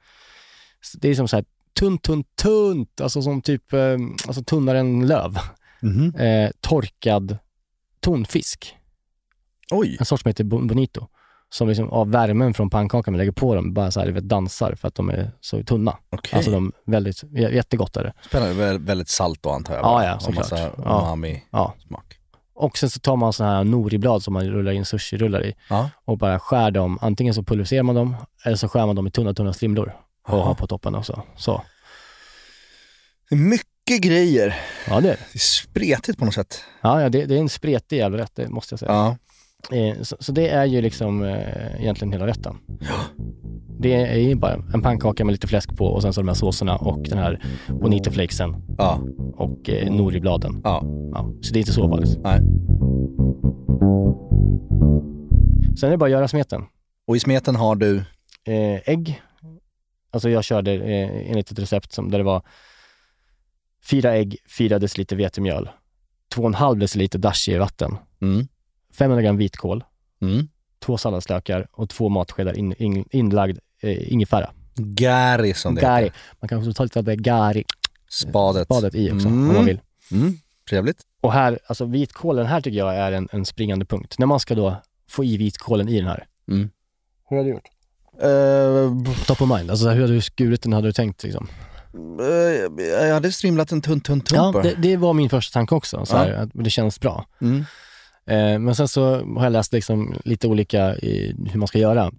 S5: Så det är som så här tunt, tunt, tunt, alltså som typ eh, alltså tunnare än löv.
S4: Mhm.
S5: Eh, torkad tonfisk.
S4: Oj.
S5: En sorts som heter bon- Bonito. Som liksom av värmen från pannkakan man lägger på dem bara så här, du vet, dansar för att de är så tunna.
S4: Okej.
S5: Alltså de väldigt, j- jättegott är det.
S4: Spännande. Vä- Väldigt salt då antar jag.
S5: Ja,
S4: va?
S5: ja,
S4: Och
S5: såklart.
S4: massa
S5: Ja.
S4: umami-smak.
S5: Ja. Och sen så tar man sådana här noriblad som man rullar in sushirullar i
S4: Ja.
S5: och bara skär dem. Antingen så pulveriserar man dem eller så skär man dem i tunna, tunna strimlor och
S4: Jaha.
S5: har på toppen också. Så,
S4: Mycket grejer.
S5: ja det är det.
S4: Det är spretigt på något sätt.
S5: Ja, ja, det, det är en spretig jävla rätt, det måste jag säga.
S4: Ja.
S5: Eh, så, så det är ju liksom eh, egentligen hela rätten. Det är ju bara en pannkaka med lite fläsk på och sen så de här såserna och den här bonito flakesen
S6: Ja,
S5: och eh, noribladen.
S6: ja,
S5: Ja, så det är inte så farligt.
S6: nej.
S5: Sen är det bara att göra smeten.
S4: Och i smeten har du...
S5: eh, ägg. Alltså jag körde eh, enligt ett recept som, där det var fyra ägg, fyra deciliter vetemjöl, två och en halv deciliter dashi i vatten,
S6: Mm.
S5: 500 gram vitkål,
S6: Mm.
S5: två salladslökar och två matskedar in, in, inlagd eh, ingefära.
S4: Gari som det
S5: Gari.
S4: heter.
S5: Man kan också ta lite gari,
S4: Spadet.
S5: badet i också om
S4: Mm.
S5: man vill.
S4: Mm. Trevligt.
S5: Och här, alltså vitkålen här tycker jag är en, en springande punkt. När man ska då få i vitkålen i den här.
S6: Mm.
S5: Hur har du gjort?
S4: Eh,
S5: Top of mind. Alltså hur hade du skurit den, hade du tänkt liksom?
S4: Eh, jag hade strimlat en tunn, tunn, tunn
S5: Ja,
S4: bara.
S5: det, det var min första tanke också. Så här, att det känns bra.
S4: Mm.
S5: Eh, men sen så har jag läst liksom lite olika i hur man ska göra.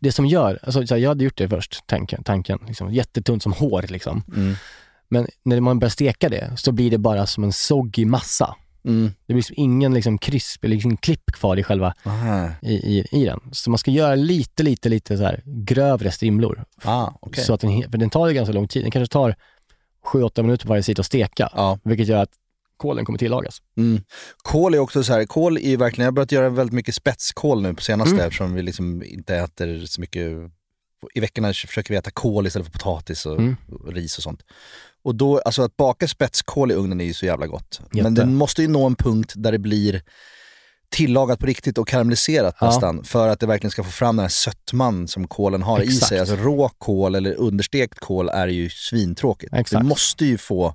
S5: Det som gör, alltså, så här, jag hade gjort det först, tanken, tanken liksom, jättetunt som hår. Liksom.
S4: Mm.
S5: Men när man börjar steka det så blir det bara som en soggig massa.
S4: Mm.
S5: Det blir liksom ingen liksom, krisp, eller liksom, klipp kvar i själva
S4: Ah,
S5: i, i, i den. Så man ska göra lite, lite, lite så här, grövre strimlor.
S4: ah, okej.
S5: Så att den, he- för den tar ju ganska lång tid. Den kanske tar 7-8 minuter på varje sida att steka,
S4: Ja.
S5: vilket gör att kålen kommer tillagas.
S4: Mm. Kål är också så här, kål är ju verkligen, jag har börjat göra väldigt mycket spetskål nu på senaste
S5: Mm.
S4: eftersom vi liksom inte äter så mycket, i veckorna försöker vi äta kål istället för potatis och,
S5: Mm.
S4: och ris och sånt. Och då, alltså att baka spetskål i ugnen är ju så jävla gott.
S5: Jätte.
S4: Men det måste ju nå en punkt där det blir tillagat på riktigt och karamelliserat
S5: Ja.
S4: nästan för att det verkligen ska få fram den här sötman som kålen har i
S5: Exakt.
S4: sig. Alltså rå kål eller understekt kål är ju svintråkigt.
S5: Exakt. Mm.
S4: Det måste ju få,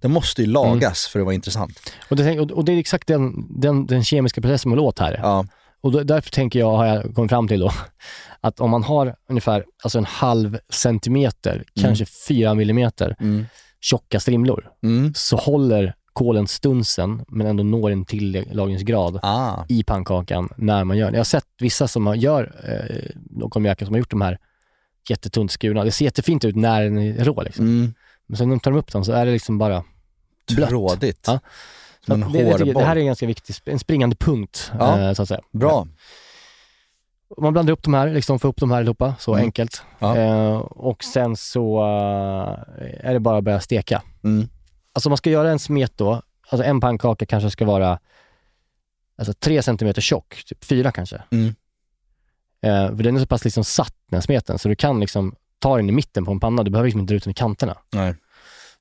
S4: det måste ju lagas för att vara intressant.
S5: Och det, och- och det är exakt den, den, den kemiska processen man vill åt här.
S4: Ja.
S5: Och då, därför tänker jag, har jag kommit fram till då, att om man har ungefär alltså en halv centimeter, kanske fyra millimeter
S4: Mm.
S5: tjocka strimlor,
S4: Mm.
S5: så håller kålen stunsen, men ändå når en tillagningsgrad
S4: Ah.
S5: i pannkakan när man gör det. Jag har sett vissa som har- gör eh, de konjaker som har gjort de här jättetunt skurna. Det ser jättefint ut när den är rå. Liksom.
S4: Mm.
S5: Men sen när de tar upp den så är det liksom bara blött.
S4: Trådigt.
S5: Ja. Så
S4: Men
S5: att det, jag tycker, det
S4: hårboll.
S5: här är en ganska viktig, sp- en springande punkt.
S4: Ja.
S5: Eh, så att säga.
S4: Bra.
S5: Man blandar upp de här, liksom får upp de här allihopa, så
S4: Mm.
S5: enkelt.
S4: Ja.
S5: Eh, och sen så eh, är det bara att börja steka.
S4: Mm.
S5: Alltså man ska göra en smet då, alltså en pannkaka kanske ska vara alltså tre centimeter tjock, typ fyra kanske.
S4: Mm.
S5: Eh, för den är så pass liksom satt den här smeten, så du kan liksom ta den i mitten på en panna, du behöver liksom inte dra ut den i kanterna.
S4: Nej.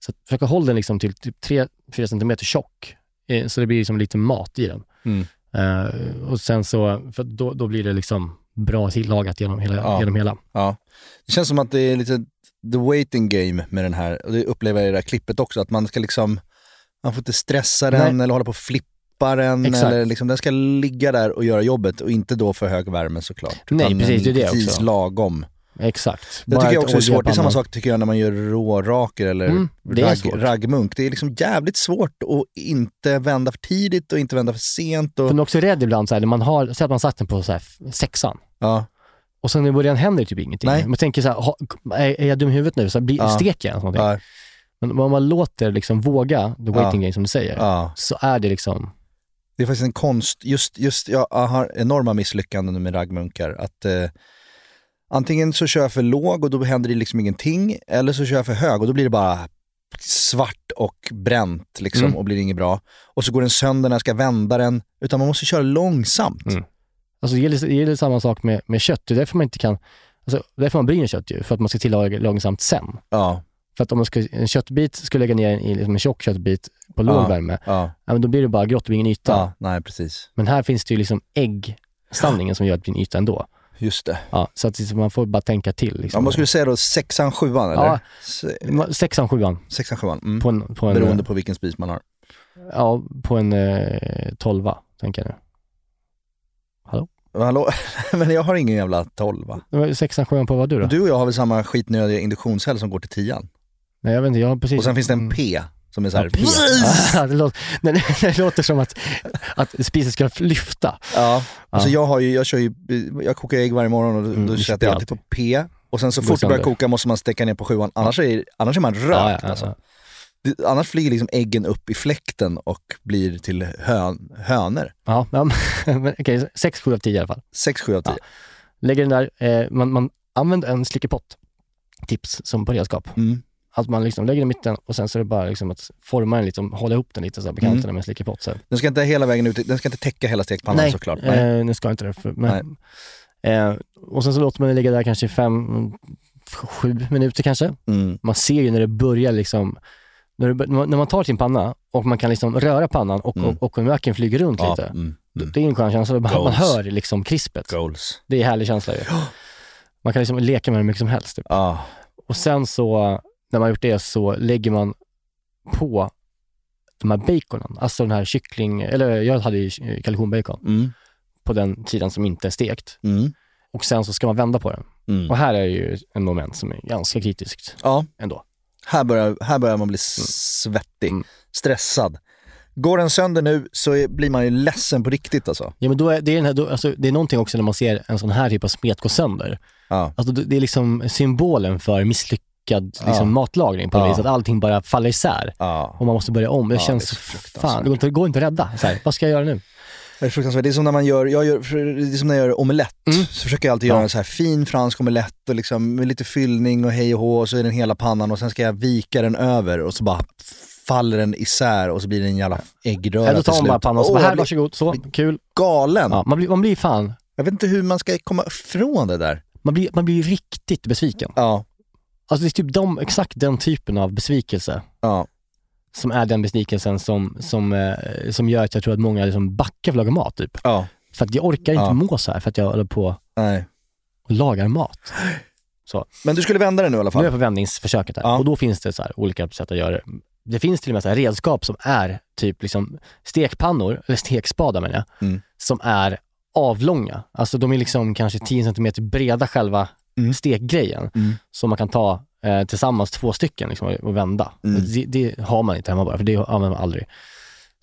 S5: Så att försöka hålla den liksom till typ 3-4 cm tjock, eh, så det blir liksom lite mat i den.
S4: Mm.
S5: Eh, och sen så, för att då, då blir det liksom bra tillagat genom hela.
S4: Ja.
S5: Genom hela.
S4: Ja. Det känns som att det är lite the waiting game med den här. Och det upplever jag i det här klippet också. Att man ska liksom, man får inte stressa den eller hålla på och flippa den.
S5: Exakt.
S4: Eller liksom, den ska ligga där och göra jobbet och inte då för hög värme såklart.
S5: Nej,
S4: Utan
S5: precis, det är det
S4: precis
S5: också.
S4: lagom.
S5: Exakt.
S4: Det
S5: Bara
S4: tycker jag
S5: ett
S4: också är svårt. Det är samma
S5: oljepanna.
S4: sak tycker jag när man gör råraker eller
S5: Mm, det är svårt.
S4: ragg, raggmunk. Det är liksom jävligt svårt att inte vända för tidigt och inte vända för sent. Och,
S5: För man är också rädd ibland, så här, när man har, säg att man satt den på så här, f- sexan.
S4: ja.
S5: Och sen i början händer typ ingenting.
S4: Nej.
S5: Man tänker så här, ha, är är jag dum i huvudet nu? Så här, blir,
S4: Ja.
S5: Steker jag ens någonting?
S4: Ja,
S5: Men om man låter liksom våga the waiting game som du säger,
S4: ja.
S5: så är det liksom,
S4: Det är faktiskt en konst, just, just jag har enorma misslyckanden med raggmunkar. Att, eh, antingen så kör jag för låg och då händer det liksom ingenting, eller så kör jag för hög och då blir det bara svart och bränt liksom,
S5: Mm.
S4: och blir inget bra. Och så går den sönder när jag ska vända den, utan man måste köra långsamt.
S5: Mm. alltså det gäller, det gäller samma sak med, med kött. Det är därför man inte kan, alltså därför man bryr kött ju, för att man ska tillaga långsamt sen.
S4: Ja,
S5: För att om man ska, en köttbit skulle lägga ner i liksom en tjock köttbit på låg
S4: Ja.
S5: värme,
S4: ja,
S5: ja, men då blir det bara grått, det blir ingen yta.
S4: ja, nej precis.
S5: Men här finns det ju liksom äggstanningen som gör att det blir en yta ändå.
S4: Just det.
S5: Ja, så att liksom, man får bara tänka till.
S4: Ja,
S5: Liksom.
S4: man skulle säga då sexan, sjuan eller?
S5: Ja.
S4: Se,
S5: Sexan, sjuan
S4: sexan, sjuan. Mm.
S5: på en, på en,
S4: Beroende på vilken spis man har.
S5: Ja, på en eh, tolva, tänker jag nu.
S4: Hallå? Men jag har ingen jävla tolva.
S5: Det var ju Sexan, sjuan på vad du då?
S4: Du och jag har väl samma skitnödiga induktionshäll som går till tian?
S5: Nej, jag vet inte, jag har precis...
S4: Och sen finns det en
S5: Mm.
S4: P som är så
S5: Ja,
S4: här...
S5: P. Ja, det, låter, nej, nej, det låter som att, att spisen ska lyfta. Alltså,
S4: Ja.
S5: Ja.
S4: Så jag, har ju, jag, kör ju, jag kokar ägg varje morgon och då,
S5: Mm,
S4: då
S5: det
S4: sätter jag alltid
S5: alltid.
S4: på P. Och sen så
S5: Går
S4: fort det börjar
S5: sönder.
S4: koka måste man steka ner på sjuan, annars är, annars är man rökt.
S5: Ja, ja, ja,
S4: Alltså.
S5: ja.
S4: Det- Annars flyger liksom äggen upp i fläkten och blir till hön, hönor.
S5: ja, men- men okej, sex, sju av tio i alla fall.
S4: 6, 7 av 10.
S5: Lägger den där, eh, man, man använd en slickepott. Tips som på redskap.
S4: Mm.
S5: Att man liksom lägger den i mitten och sen så är det bara liksom att forma den lite, och hålla ihop den lite så här på kanterna med en slickepott. Så. här.
S4: Den ska inte hela vägen ut, den ska inte täcka hela stekpannan
S5: Nej.
S4: såklart. Nej.
S5: Eh, nu ska inte det. För, men, eh, och sen så låter man den ligga där kanske i fem, mm, sju minuter kanske.
S4: Mm.
S5: Man ser ju när det börjar liksom, när, det, bör- när man- när man tar sin panna och man kan liksom röra pannan och,
S4: Mm.
S5: och, och konvaken flyger runt
S4: Ja,
S5: lite.
S4: mm. Mm.
S5: Det är en skön känsla. Man, man
S4: Goals.
S5: hör liksom krispet.
S4: Goals.
S5: Det är en härlig känsla ju. Man kan liksom leka med det hur mycket som helst. Typ.
S4: Ja.
S5: Och sen så, när man har gjort det, så lägger man på de här baconen. Alltså den här kyckling, eller jag hade ju eh, kalkonbacon
S4: Mm.
S5: på den sidan som inte är stekt.
S4: Mm.
S5: Och sen så ska man vända på den.
S4: Mm.
S5: Och här är ju en moment som är ganska kritiskt
S4: Ja,
S5: ändå.
S4: här börjar, här börjar man bli svettig,
S5: Mm.
S4: stressad. Går den sönder nu så är, blir man ju ledsen på riktigt alltså.
S5: Ja, men då är, det, är den här, då, alltså, det är någonting också när man ser en sån här typ av smet gå sönder.
S4: Ja.
S5: Alltså, det det är liksom symbolen för misslyckad liksom,
S4: Ja.
S5: matlagning på något
S4: Ja.
S5: vis. Att allting bara faller isär.
S4: Ja.
S5: Och man måste börja om. Det
S4: Ja,
S5: känns
S4: det är
S5: så
S4: fruktansvärt.
S5: fan, det går inte, det går inte att rädda. Så här, vad ska jag göra nu?
S4: Det är fruktansvärt. Det är som när man gör, jag gör, det är som när jag gör omelett.
S5: Mm.
S4: Så försöker jag alltid göra en så här fin fransk omelett och liksom med lite fyllning och hej och hå och så är den hela pannan och sen ska jag vika den över och så bara faller den isär och så blir det en jävla äggröra
S5: Eller Äh, då
S4: till
S5: tar man
S4: slut.
S5: bara pannan och så
S4: Åh,
S5: bara,
S4: jag
S5: här,
S4: blir
S5: varsågod, så, kul.
S4: galen.
S5: Ja, man, blir, man blir fan,
S4: Jag vet inte hur man ska komma ifrån det där.
S5: man blir, man blir riktigt besviken.
S4: Ja,
S5: Alltså det är typ de, exakt den typen av besvikelse
S4: ja.
S5: som är den besvikelsen som, som, eh, som gör att jag tror att många liksom backar för att laga mat. Typ.
S4: Ja,
S5: För att jag orkar inte
S4: Ja.
S5: må så här för att jag håller på
S4: nej.
S5: och lagar mat.
S4: Men du skulle vända den nu i alla
S5: Nu är jag
S4: fall?
S5: på vändningsförsöket här
S4: Ja.
S5: och då finns det så här olika sätt att göra det. Det finns till och med så här redskap som är typ liksom stekpannor, eller stekspadar menar jag,
S4: Mm.
S5: som är avlånga. Alltså de är liksom kanske 10 centimeter breda själva
S4: Mm.
S5: stekgrejen
S4: Mm.
S5: som man kan ta eh, tillsammans, två stycken liksom, och vända.
S4: Mm.
S5: Och Det, det har man inte hemma bara, för det använder man aldrig.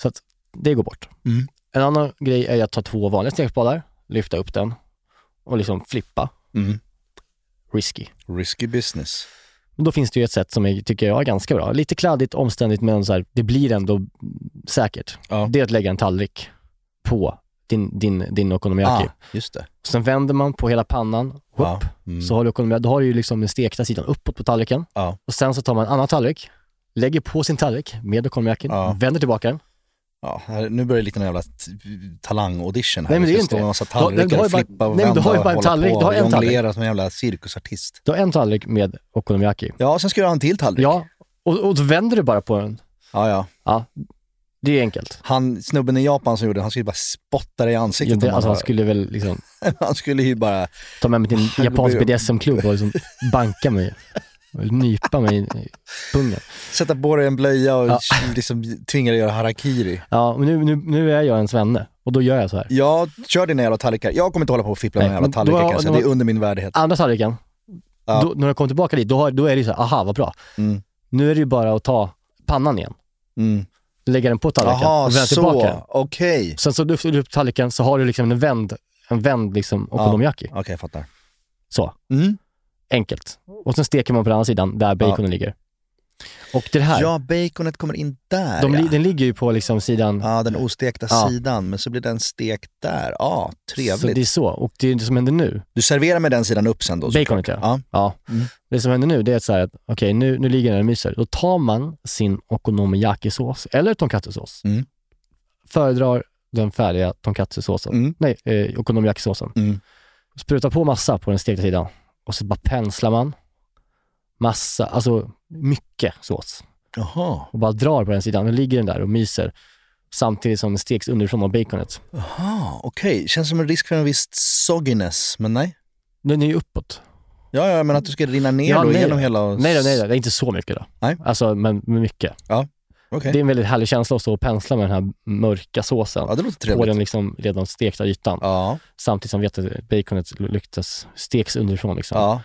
S5: Så att det går bort.
S4: Mm.
S5: En annan grej är att ta två vanliga stekspadar, lyfta upp den och liksom flippa.
S4: Mm.
S5: Risky.
S4: Risky business.
S5: Men då finns det ju ett sätt som jag tycker jag är ganska bra. Lite kladdigt, omständigt, men så här, det blir ändå säkert.
S4: Ja.
S5: Det är att lägga en tallrik på din, din, din okonomiyaki.
S4: Ah, just det.
S5: Sen vänder man på hela pannan, upp,
S4: Ja. Mm. Ah.
S5: så har du okonomiyaki. Då har du ju liksom den stekta sidan uppåt på tallriken.
S4: Ja.
S5: Och sen så tar man en annan tallrik, lägger på sin tallrik med okonomiyakin,
S4: Ja.
S5: vänder tillbaka den.
S4: Ja, här, nu börjar det lite någon jävla t- talang-audition här.
S5: Nej, men
S4: Vi
S5: det
S4: ska
S5: är inte
S4: stå med
S5: det.
S4: massa
S5: Du har- du
S4: tallrikar
S5: har ju
S4: och
S5: bara-
S4: flippa och
S5: nej, men du
S4: vända
S5: har ju
S4: och
S5: bara en
S4: hålla
S5: tallrik,
S4: på
S5: du har
S4: och
S5: en tallrik.
S4: jonglera som en jävla cirkusartist.
S5: Du har en tallrik med okonomiyaki.
S4: Ja, sen ska du ha en till tallrik.
S5: Ja, och, och då vänder du bara på den.
S4: ja, ja.
S5: Ja, det är enkelt.
S4: Han, snubben i Japan som gjorde det, han skulle bara spotta dig i
S5: Ja,
S4: ansiktet.
S5: det,
S4: om
S5: alltså,
S4: han,
S5: han skulle väl liksom
S4: skulle... han skulle ju bara...
S5: ta med mig till en
S4: Herregud.
S5: japansk BDSM-klubb och liksom banka mig. Och nypa mig i pungen.
S4: Sätta på dig en blöja och
S5: Ja.
S4: liksom tvinga dig att göra harakiri.
S5: Ja, men nu, nu, nu är jag en svenne och då gör jag så här.
S4: Ja, kör dina jävla tallrikar. Jag kommer inte hålla på och fippla med
S5: Nej,
S4: jävla
S5: men då har-
S4: tallrikar. alltså.
S5: då
S4: Det
S5: har-
S4: är under min värdighet.
S5: Andra tallriken,
S4: Ja.
S5: då, när jag kommer tillbaka dit, då, har, då är det ju så här, aha vad bra.
S4: Mm.
S5: Nu är det ju bara att ta pannan igen,
S4: Mm.
S5: lägga den på tallriken
S4: Jaha,
S5: och vända tillbaka.
S4: så.
S5: den.
S4: Okej.
S5: Sen så lyfter du upp tallriken så har du liksom en vänd, en vänd liksom okonomiyaki.
S4: Okej, jag fattar.
S5: Så,
S4: Mm.
S5: enkelt. Och sen steker man på den andra sidan där baconen ligger. Och det här,
S4: Ja, baconet kommer in där
S5: de,
S4: ja.
S5: li- den ligger ju på liksom sidan
S4: Ja, den ostekta
S5: Ja.
S4: sidan, men så blir den stekt där. Ja,
S5: Så
S4: trevligt.
S5: det är så. Och det, är det som händer nu,
S4: Du serverar med den sidan upp sen då? så-
S5: baconet ja.
S4: Ja.
S5: ja.
S4: Mm.
S5: Det som händer nu det är att så här att, okej nu, nu ligger den och myser. Då tar man sin okonomiyaki-sås eller tonkatsu-sås.
S4: Mm.
S5: Föredrar den färdiga tonkatsu-såsen.
S4: Mm.
S5: Nej, eh, okonomiyaki-såsen.
S4: Mm.
S5: Sprutar på massa på den stekta sidan och så bara penslar man massa, alltså mycket sås
S4: Jaha.
S5: och bara drar på den sidan. Då ligger den där och myser samtidigt som den steks underifrån av baconet.
S4: Jaha, okej. Känns som en risk för en viss sogginess, men nej.
S5: Den är ju uppåt.
S4: Ja, ja, men att du ska rinna ner
S5: Ja,
S4: då
S5: nej.
S4: genom hela...
S5: Nej då, nej då, det är inte så mycket då.
S4: Nej.
S5: Alltså, men men mycket.
S4: Okej.
S5: Det är en väldigt härlig känsla att stå och pensla med den här mörka såsen
S4: Ja, det låter
S5: på
S4: trevligt.
S5: den liksom redan stekta ytan.
S4: Ja,
S5: Samtidigt som vete- baconet luktas, steks underifrån. Liksom.
S4: ja.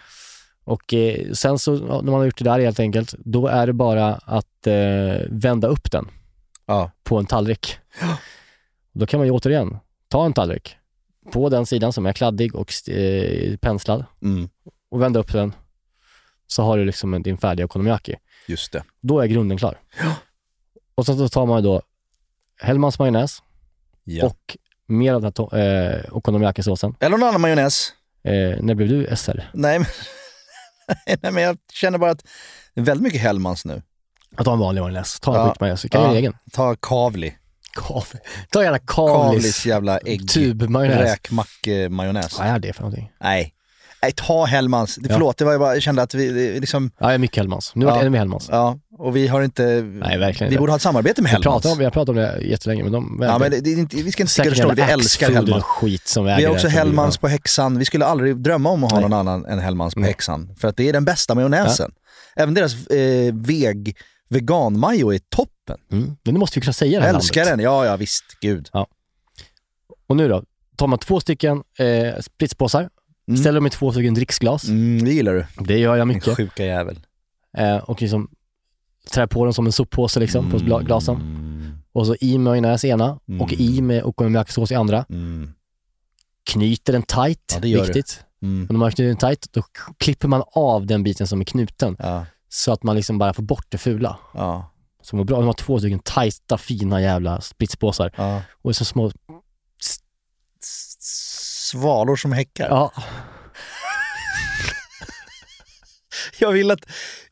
S5: Och eh, sen så, ja, när man har gjort det där helt enkelt, då är det bara att eh, vända upp den
S4: Ja.
S5: på en tallrik. Då kan man ju återigen ta en tallrik på den sidan som är kladdig och st- eh, penslad
S4: Mm,
S5: och vända upp den. Så har du liksom en- din färdiga okonomiyaki.
S4: just det.
S5: Då är grunden klar. Och sen så tar man då Hellmans majonnäs
S4: Ja.
S5: och mer av den här to- eh, okonomiyaki-såsen.
S4: Eller någon annan majonnäs.
S5: Eh, när blev du SR?
S4: Nej men, nej, men jag känner bara att det är väldigt mycket Hellmans nu.
S5: Att ta en vanlig Ornells. Ta en
S4: Ja.
S5: ja. skitmajonnäs. Du kan göra
S4: Ja.
S5: egen.
S4: Ta Kavli.
S5: Kav. Ta gärna
S4: Kavlis
S5: Kavlis
S4: jävla ägg.
S5: tubmajonnäs.
S4: Räkmackmajonnäs.
S5: Vad är det för någonting?
S4: Nej. Nej, ta Hellmans. Förlåt, det var ju bara, jag kände att vi det är liksom,
S5: Ja, jag är mycket Hellmans. Nu var det
S4: Ja.
S5: ännu mer Hellmans.
S4: ja, och vi har inte,
S5: Nej, verkligen
S4: vi
S5: inte.
S4: borde ha ett samarbete med
S5: Jag
S4: Hellmans.
S5: pratar om, jag pratar om det jättelänge, men de
S4: ja, men det, det är inte, vi ska inte sticka under
S5: Säkert
S4: stol med,
S5: jävla
S4: vi älskar
S5: axfull och
S4: Hellmans.
S5: skit som äger
S4: Vi
S5: det
S4: har
S5: här
S4: också
S5: som
S4: Hellmans
S5: vi-
S4: på häxan. Vi skulle aldrig drömma om att ha någon annan än Hellmans på häxan. För att det är den bästa majonnäsen. Även deras eh, veg, veganmajo är toppen.
S5: Mm. Men nu måste vi kunna säga det
S4: Jag
S5: här
S4: älskar
S5: namnet.
S4: den. Ja, ja visst. Gud.
S5: Och nu då? Tar man två stycken eh, spritspåsar,
S4: Mm.
S5: ställer dem i två stycken dricksglas.
S4: Mm, det gillar du.
S5: Det gör jag
S4: Din
S5: mycket.
S4: sjuka jävel.
S5: Eh, och liksom trär på den som en soppåse liksom, på gla- glasen.
S4: Mm,
S5: Och så i majonnäs i ena och
S4: Mm.
S5: i med okonomiyaki-sås i andra.
S4: mm,
S5: Knyter den tight,
S4: Ja, det gör du.
S5: viktigt.
S4: mm.
S5: Och när man knyter den tight, då k- klipper man av den biten som är knuten.
S4: Ja,
S5: Så att man liksom bara får bort det fula.
S4: ja,
S5: Som var bra. De har två stycken tajta, fina jävla spritspåsar.
S4: ja.
S5: Och så små...
S4: Svalor som häckar.
S5: Ja,
S4: Jag vill att,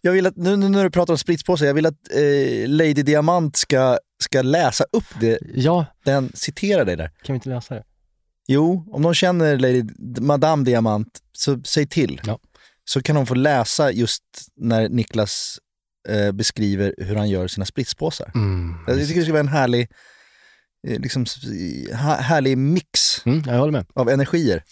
S4: jag vill att nu, nu när du pratar om spritspåsar, jag vill att eh, Lady Diamant ska, ska läsa upp det,
S5: ja.
S4: den citerar dig där.
S5: Kan vi inte läsa det?
S4: Jo, om någon känner Lady, Madame Diamant, så säg till.
S5: Ja.
S4: Så kan hon få läsa just när Niklas eh, beskriver hur han gör sina spritspåsar.
S5: Mm.
S4: Jag tycker det skulle vara en härlig, eh, liksom, s- ha, härlig mix
S5: Mm, jag håller med.
S4: av energier.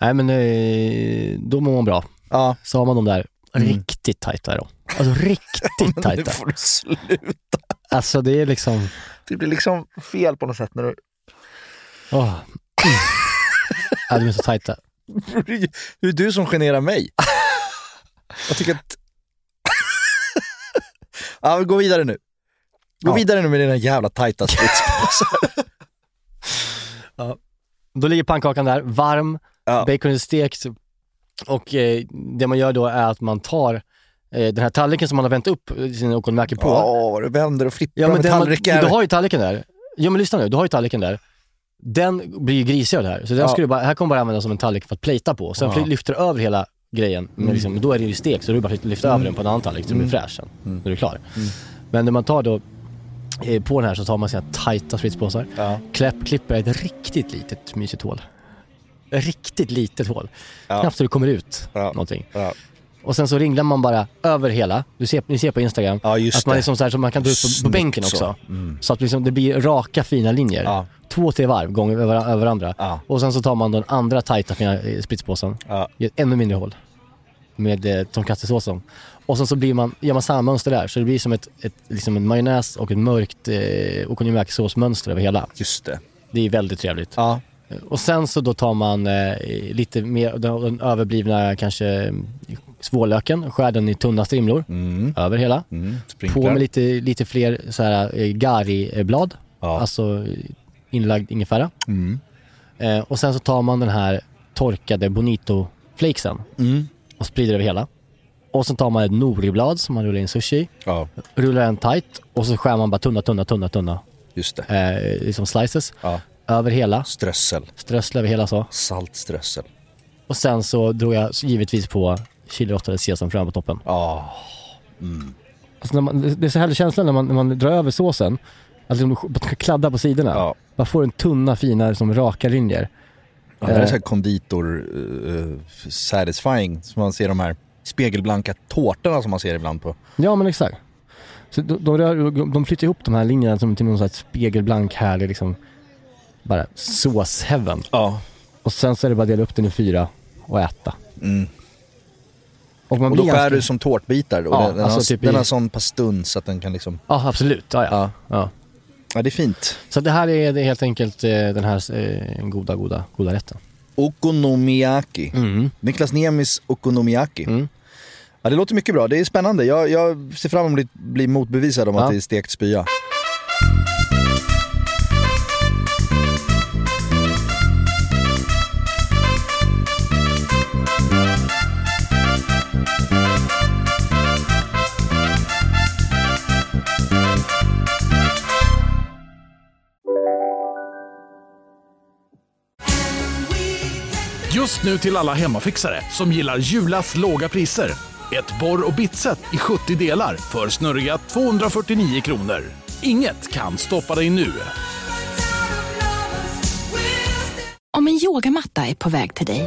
S5: Nej men eh, då mår man bra.
S4: Ja,
S5: Så har man de där
S4: Mm.
S5: riktigt tajta då. Alltså riktigt
S4: men nu
S5: tajta.
S4: får du slut.
S5: Alltså det är liksom...
S4: Det blir liksom fel på något sätt när du...
S5: Åh. Mm. Ja, de är så tajta.
S4: Det är du som generar mig. Jag tycker att... ja, vi går vidare nu. Gå
S5: Ja.
S4: vidare nu med dina jävla tajta spritspåsar.
S5: Då ligger pannkakan där, varm,
S4: Ja.
S5: bacon är stekt och eh, det man gör då är att man tar eh, den här tallriken som man har vänt upp eh, sin okonomiyaki på.
S4: Ja, vad du vänder och flippar
S5: Ja, men
S4: med
S5: den man,
S4: tallrikar.
S5: du har ju tallriken där. Ja men lyssna nu, du har ju tallriken där. Den blir ju grisig av det här. Så den
S4: Ja.
S5: ska du bara, här kommer bara användas som en tallrik för att plita på. Sen fly- lyfter du över hela grejen.
S4: Mm.
S5: Men liksom, då är det ju stekt så du bara lyfter över den på en annan tallrik så den blir fräsch sen.
S4: Mm.
S5: När du är klar. Men när man tar då eh, på den här så tar man sina tajta spritspåsar.
S4: Ja.
S5: Kläpp, klipper ett riktigt litet mysigt hål. Ett riktigt litet hål. Knappt så det kommer ut
S4: Ja.
S5: någonting.
S4: Ja.
S5: Och sen så ringlar man bara över hela. Du ser, ni ser på Instagram.
S4: Ja, just
S5: att man,
S4: det.
S5: liksom så här, så man kan dra ut på, på
S4: Snyggt
S5: bänken
S4: så. Mm.
S5: också. Så att liksom det blir raka fina linjer.
S4: Ja.
S5: Två, tre varv gånger över, över varandra.
S4: Ja.
S5: Och sen så tar man den andra tajta fina eh, spritspåsen.
S4: Ja.
S5: I ett ännu mindre hål. Med eh, tomkattesåsen. Och sen så blir man, gör man samma mönster där. Så det blir som ett, ett, liksom en majonnäs och ett mörkt eh, okonomiyaki-såsmönster över hela.
S4: Just det.
S5: Det är väldigt trevligt. Eh,
S4: Ja.
S5: Och sen så då tar man eh, lite mer, den, den överblivna kanske eh, svårlöken, skär den i tunna strimlor
S4: Mm.
S5: över hela.
S4: Mm.
S5: På
S4: Sprinklar.
S5: med lite, lite fler så här eh, gariblad,
S4: Ja.
S5: alltså eh, inlagd ingefära.
S4: Mm.
S5: Eh, och sen så tar man den här torkade bonito-flakesen
S4: Mm.
S5: och sprider över hela. Och sen tar man ett noriblad som man rullar in sushi i,
S4: Ja,
S5: rullar den tight och så skär man bara tunna, tunna, tunna, tunna
S4: just det.
S5: eh, liksom slices
S4: Ja.
S5: över hela,
S4: Strössel.
S5: strösslar över hela så.
S4: Saltströssel.
S5: Och sen så drog jag givetvis på chilirottade sesamfrön på toppen.
S4: Ja.
S5: Alltså när man, det- det är så härlig känsla när man, när man drar över såsen. Att liksom du ska kladda på sidorna.
S4: Ja.
S5: Man får en tunna fina som raka linjer.
S4: ja. Det
S5: Eh.
S4: här är så här konditor eh, satisfying. Som man ser de här spegelblanka tårtorna som man ser ibland på.
S5: Ja men exakt. Så de, de, rör, de flyttar ihop de här linjerna som till någon slags spegelblank härlig liksom bara såsheaven.
S4: Ja.
S5: Och sen så är det bara att dela upp den i fyra och äta.
S4: Mm.
S5: Och, man
S4: Och då
S5: blir
S4: skär
S5: ganska-
S4: du som tårtbitar. Och
S5: Ja,
S4: den, den,
S5: alltså
S4: har,
S5: typ i-
S4: den har sån pastuns att den kan liksom...
S5: Ja absolut, ja, ja.
S4: Ja.
S5: ja.
S4: Ja, det är fint.
S5: Så det här är det är helt enkelt eh, den här eh, goda, goda, goda rätten.
S4: Okonomiyaki.
S5: Mm.
S4: Niklas Nemis Okonomiyaki.
S5: Mm.
S4: Ja, det låter mycket bra. Det är spännande. Jag, jag ser fram emot att bli, bli motbevisad om
S5: Ja.
S4: att det är stekt spya.
S1: Just Just nu till alla hemmafixare som gillar Julas låga priser. Ett borr och bitset i 70 delar för snurriga 249 kronor. Inget kan stoppa dig nu.
S7: Om en yogamatta är på väg till dig,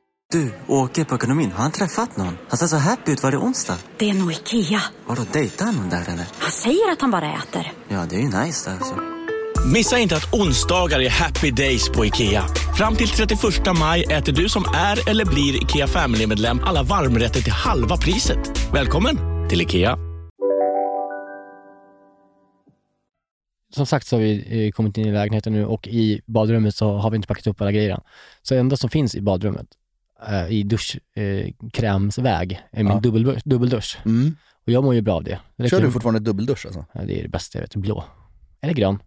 S8: Du, åker på ekonomin. Har han träffat någon? Han ser så happy ut. Var det onsdag?
S9: Det är nog Ikea.
S8: Har du dejtat någon där eller?
S9: Han säger att han bara äter.
S8: Ja, det är ju nice där alltså.
S10: Missa inte att onsdagar är happy days på IKEA. Fram till 31 maj äter du som är eller blir IKEA Family-medlem alla varmrätter till halva priset. Välkommen till IKEA.
S5: Som sagt så har vi eh, kommit in i lägenheten nu och i badrummet så har vi inte packat upp alla grejer. Så det enda som finns i badrummet, eh, i duschkrämsväg, är min
S4: Ja.
S5: dubbeldusch, dubbeldusch.
S4: Mm.
S5: Och jag mår ju bra av det. Det
S4: Kör
S5: räcker-
S4: du fortfarande dubbeldusch alltså?
S5: Ja, det är det bästa jag vet. Blå. Eller grön.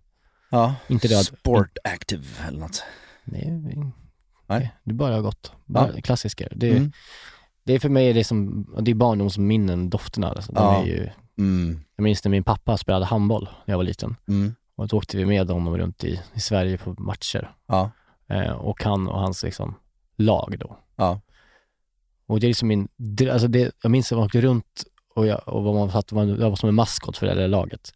S4: Ja.
S5: Inte röd.
S4: Sport active eller något.
S5: Nej, nej.
S4: Nej.
S5: Det är bara gott. Bara
S4: Ja.
S5: klassiker. Det,
S4: Mm.
S5: det är för mig det är som, det är barndomsminnen, dofterna. Alltså. De
S4: Ja.
S5: är ju,
S4: Mm.
S5: jag minns när min pappa spelade handboll när jag var liten.
S4: Mm.
S5: Och då åkte vi med honom runt i, i Sverige på matcher.
S4: Ja.
S5: Eh, och han och hans liksom, lag då.
S4: Ja.
S5: Och det är liksom min, det, alltså det, jag minns att man åkte runt och jag, och vad man satt, man, jag var som en maskot för det där laget.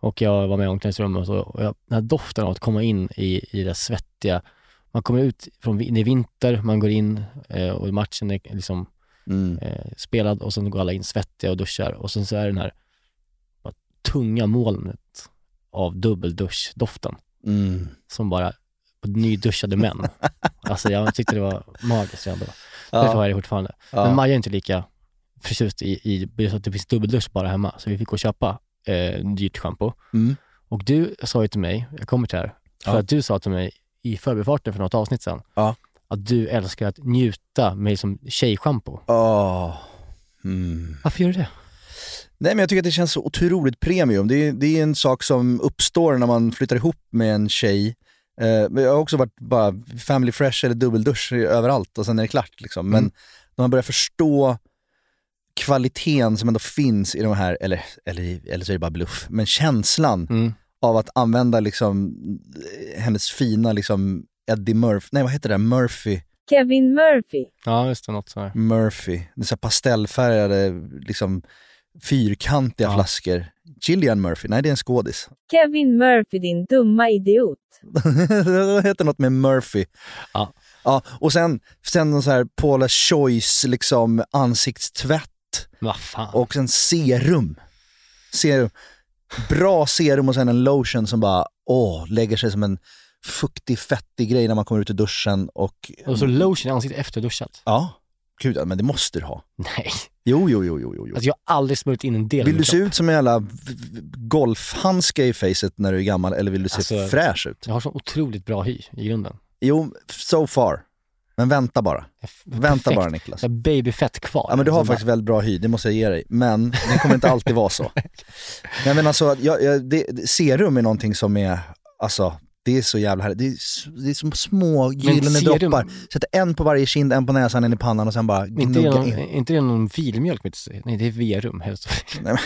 S5: Och jag var med i omklädningsrummet och, och jag, den här doften av att komma in i, i det svettiga, man kommer ut från, vi- det är vinter, man går in eh, och matchen är liksom
S4: Mm.
S5: eh, spelad och sen går alla in svettiga och duschar och sen så är den här bara, tunga molnet av dubbelduschdoften
S4: Mm.
S5: som bara nyduschade män. alltså jag tyckte det var magiskt redan då.
S4: Ja.
S5: Därför har jag det fortfarande.
S4: Ja.
S5: Men Maja är inte lika förtjust i, i just att det finns dubbeldusch bara hemma, så vi fick gå och köpa eh, dyrt schampo.
S4: Mm.
S5: Och du sa ju till mig, jag kommer till det här, för
S4: Ja.
S5: att du sa till mig i förbifarten för något avsnitt sedan,
S4: Ja.
S5: att du älskar att njuta med som tjejschampo.
S4: Åh. Mm.
S5: Varför gör du det?
S4: Nej men jag tycker att det känns så otroligt premium. Det är, det är en sak som uppstår när man flyttar ihop med en tjej. Eh, men jag har också varit bara family fresh eller dubbeldusch överallt och sen är det klart. Liksom. Men när man börjar förstå kvaliteten som ändå finns i de här, eller, eller, eller så är det bara bluff, men känslan
S5: Mm.
S4: av att använda liksom, hennes fina liksom, Eddie Murphy, nej vad heter det, där? Murphy
S11: Kevin Murphy.
S5: Ja, just det, något sådär.
S4: Murphy. Det är så här pastellfärgade, liksom fyrkantiga
S5: Ja.
S4: flaskor. Gillian Murphy, nej det är en skådis.
S11: Kevin Murphy din dumma idiot.
S4: det heter något med Murphy.
S5: Ja.
S4: ja och sen, sen någon så här Paula Choice liksom ansiktstvätt
S5: Vad fan.
S4: och sen serum. Serum. Bra serum och sen en lotion som bara åh, lägger sig som en fuktig, fettig grej när man kommer ut ur duschen och...
S5: Och så lotion i ansiktet efter duschat.
S4: Ja, gud ja, men det måste du ha.
S5: Nej,
S4: Jo, jo, jo, jo, jo. jo.
S5: alltså jag har aldrig smörjt in en del av
S4: Vill
S5: min
S4: du se
S5: kropp.
S4: ut som en jävla v- v- golfhandske i facet när du är gammal eller vill du se
S5: Alltså-
S4: fräsch ut?
S5: Jag har så otroligt bra hy i grunden.
S4: Jo, so far. Men vänta bara.
S5: Jag f-
S4: Vänta
S5: perfekt.
S4: bara Niklas.
S5: Jag har babyfett kvar.
S4: Ja men du har
S5: Alltså bara-
S4: faktiskt väldigt bra hy, det måste jag ge dig. Men det kommer inte alltid vara så. Nej men alltså, jag, jag, det, det- serum är någonting som är, alltså det är så jävla härligt. Det är, s- det är som små gyllene
S5: serum-
S4: droppar. Sätta en på varje kind, en på näsan, en i pannan och sen bara
S5: Inte det,
S4: gnugga
S5: någon,
S4: in.
S5: inte det någon filmjölk? mitt i? Nej, det är verum. helst. Nej,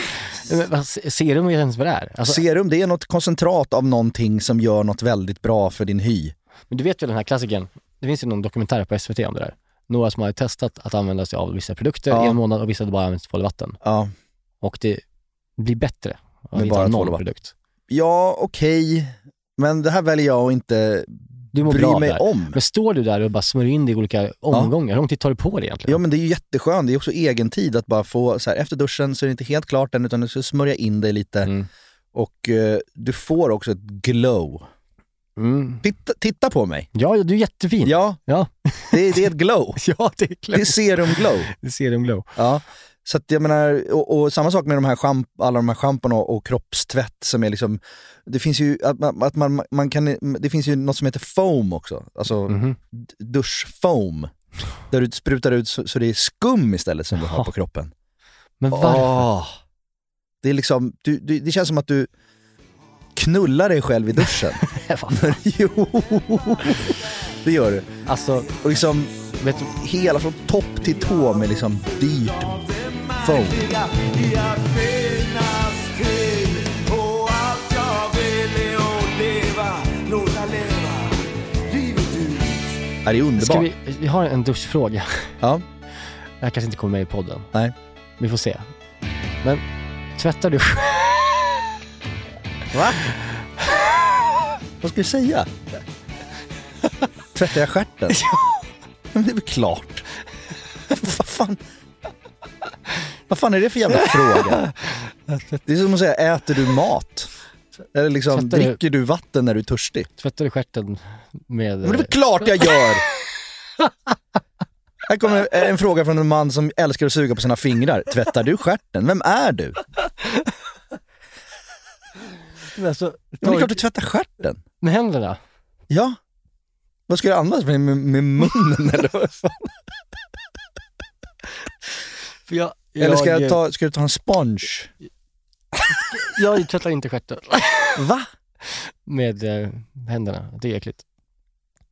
S5: men vad- Serum vet jag inte vad det är. Alltså,
S4: Serum, det är något koncentrat av någonting som gör något väldigt bra för din hy.
S5: men du vet väl den här klassiken? Det finns ju någon dokumentär på SVT om det där. Några som har testat att använda sig av vissa produkter
S4: Ja.
S5: i en månad och vissa hade bara använt tvål och vatten.
S4: Ja.
S5: Och det blir bättre om
S4: Men
S5: vi inte
S4: bara
S5: har
S4: tvål
S5: någon
S4: och vatten.
S5: produkt.
S4: Ja, okej. Men det här väljer jag att inte
S5: Du mår bra
S4: bry
S5: av det
S4: mig
S5: här.
S4: om.
S5: Men står du där och bara smörjer in det i olika omgångar, hur lång tid tar du på det egentligen?
S4: Ja men det är ju jätteskönt, det är också egen tid att bara få, så här, efter duschen så är det inte helt klart än utan du ska smörja in dig lite.
S5: Mm.
S4: Och eh, du får också ett glow.
S5: Mm.
S4: Titta, titta på mig!
S5: Ja, ja, du är jättefin.
S4: Ja,
S5: Mm. ja.
S4: det, det är ett glow.
S5: Ja, det är
S4: Det är
S5: klart.
S4: serum-glow.
S5: Det är serum glow.
S4: Ja. Så att jag menar, och, och samma sak med de här schamp, alla de här schamporna och, och kroppstvätt som är liksom, det finns ju, att man, att man, man kan, det finns ju något som heter foam också, alltså
S5: Mhm.
S4: d- duschfoam. Där du sprutar ut så, så det är skum istället som du har på kroppen.
S12: Men varför?
S4: Åh. Det är liksom, du, du, det känns som att du knullar dig själv i duschen. jo, det gör du.
S12: Alltså,
S4: och liksom, vet du, hela från topp till tå med liksom dyrt foam. Ja, det är
S5: Ska
S4: underbart.
S5: vi, vi har en duschfråga.
S4: Ja.
S5: Det här kanske inte kommer med i podden.
S4: Nej.
S5: Vi får se. Men tvättar du själv?
S4: Va? Vad ska du säga? Tvättar jag stjärten? Men det är väl klart. Vad fan? Vad fan är det för jävla fråga? Det är som att säga, äter du mat? Eller liksom,
S5: Tvättar du-
S4: dricker du vatten när du är törstig?
S5: Tvättar du stjärten med...
S4: Men det är väl klart jag gör! Här kommer en fråga från en man som älskar att suga på sina fingrar. Tvättar du stjärten? Vem är du?
S5: Men alltså,
S4: Men det är klart du tvättar stjärten.
S5: Med händerna?
S4: Ja. Vad ska jag annars med, med, med munnen eller vad fan?
S5: För jag, jag,
S4: Eller ska, jag ta, ska du ta en sponge?
S5: Jag tvättar inte stjärten.
S4: Va?
S5: Med eh, händerna. Det är äckligt.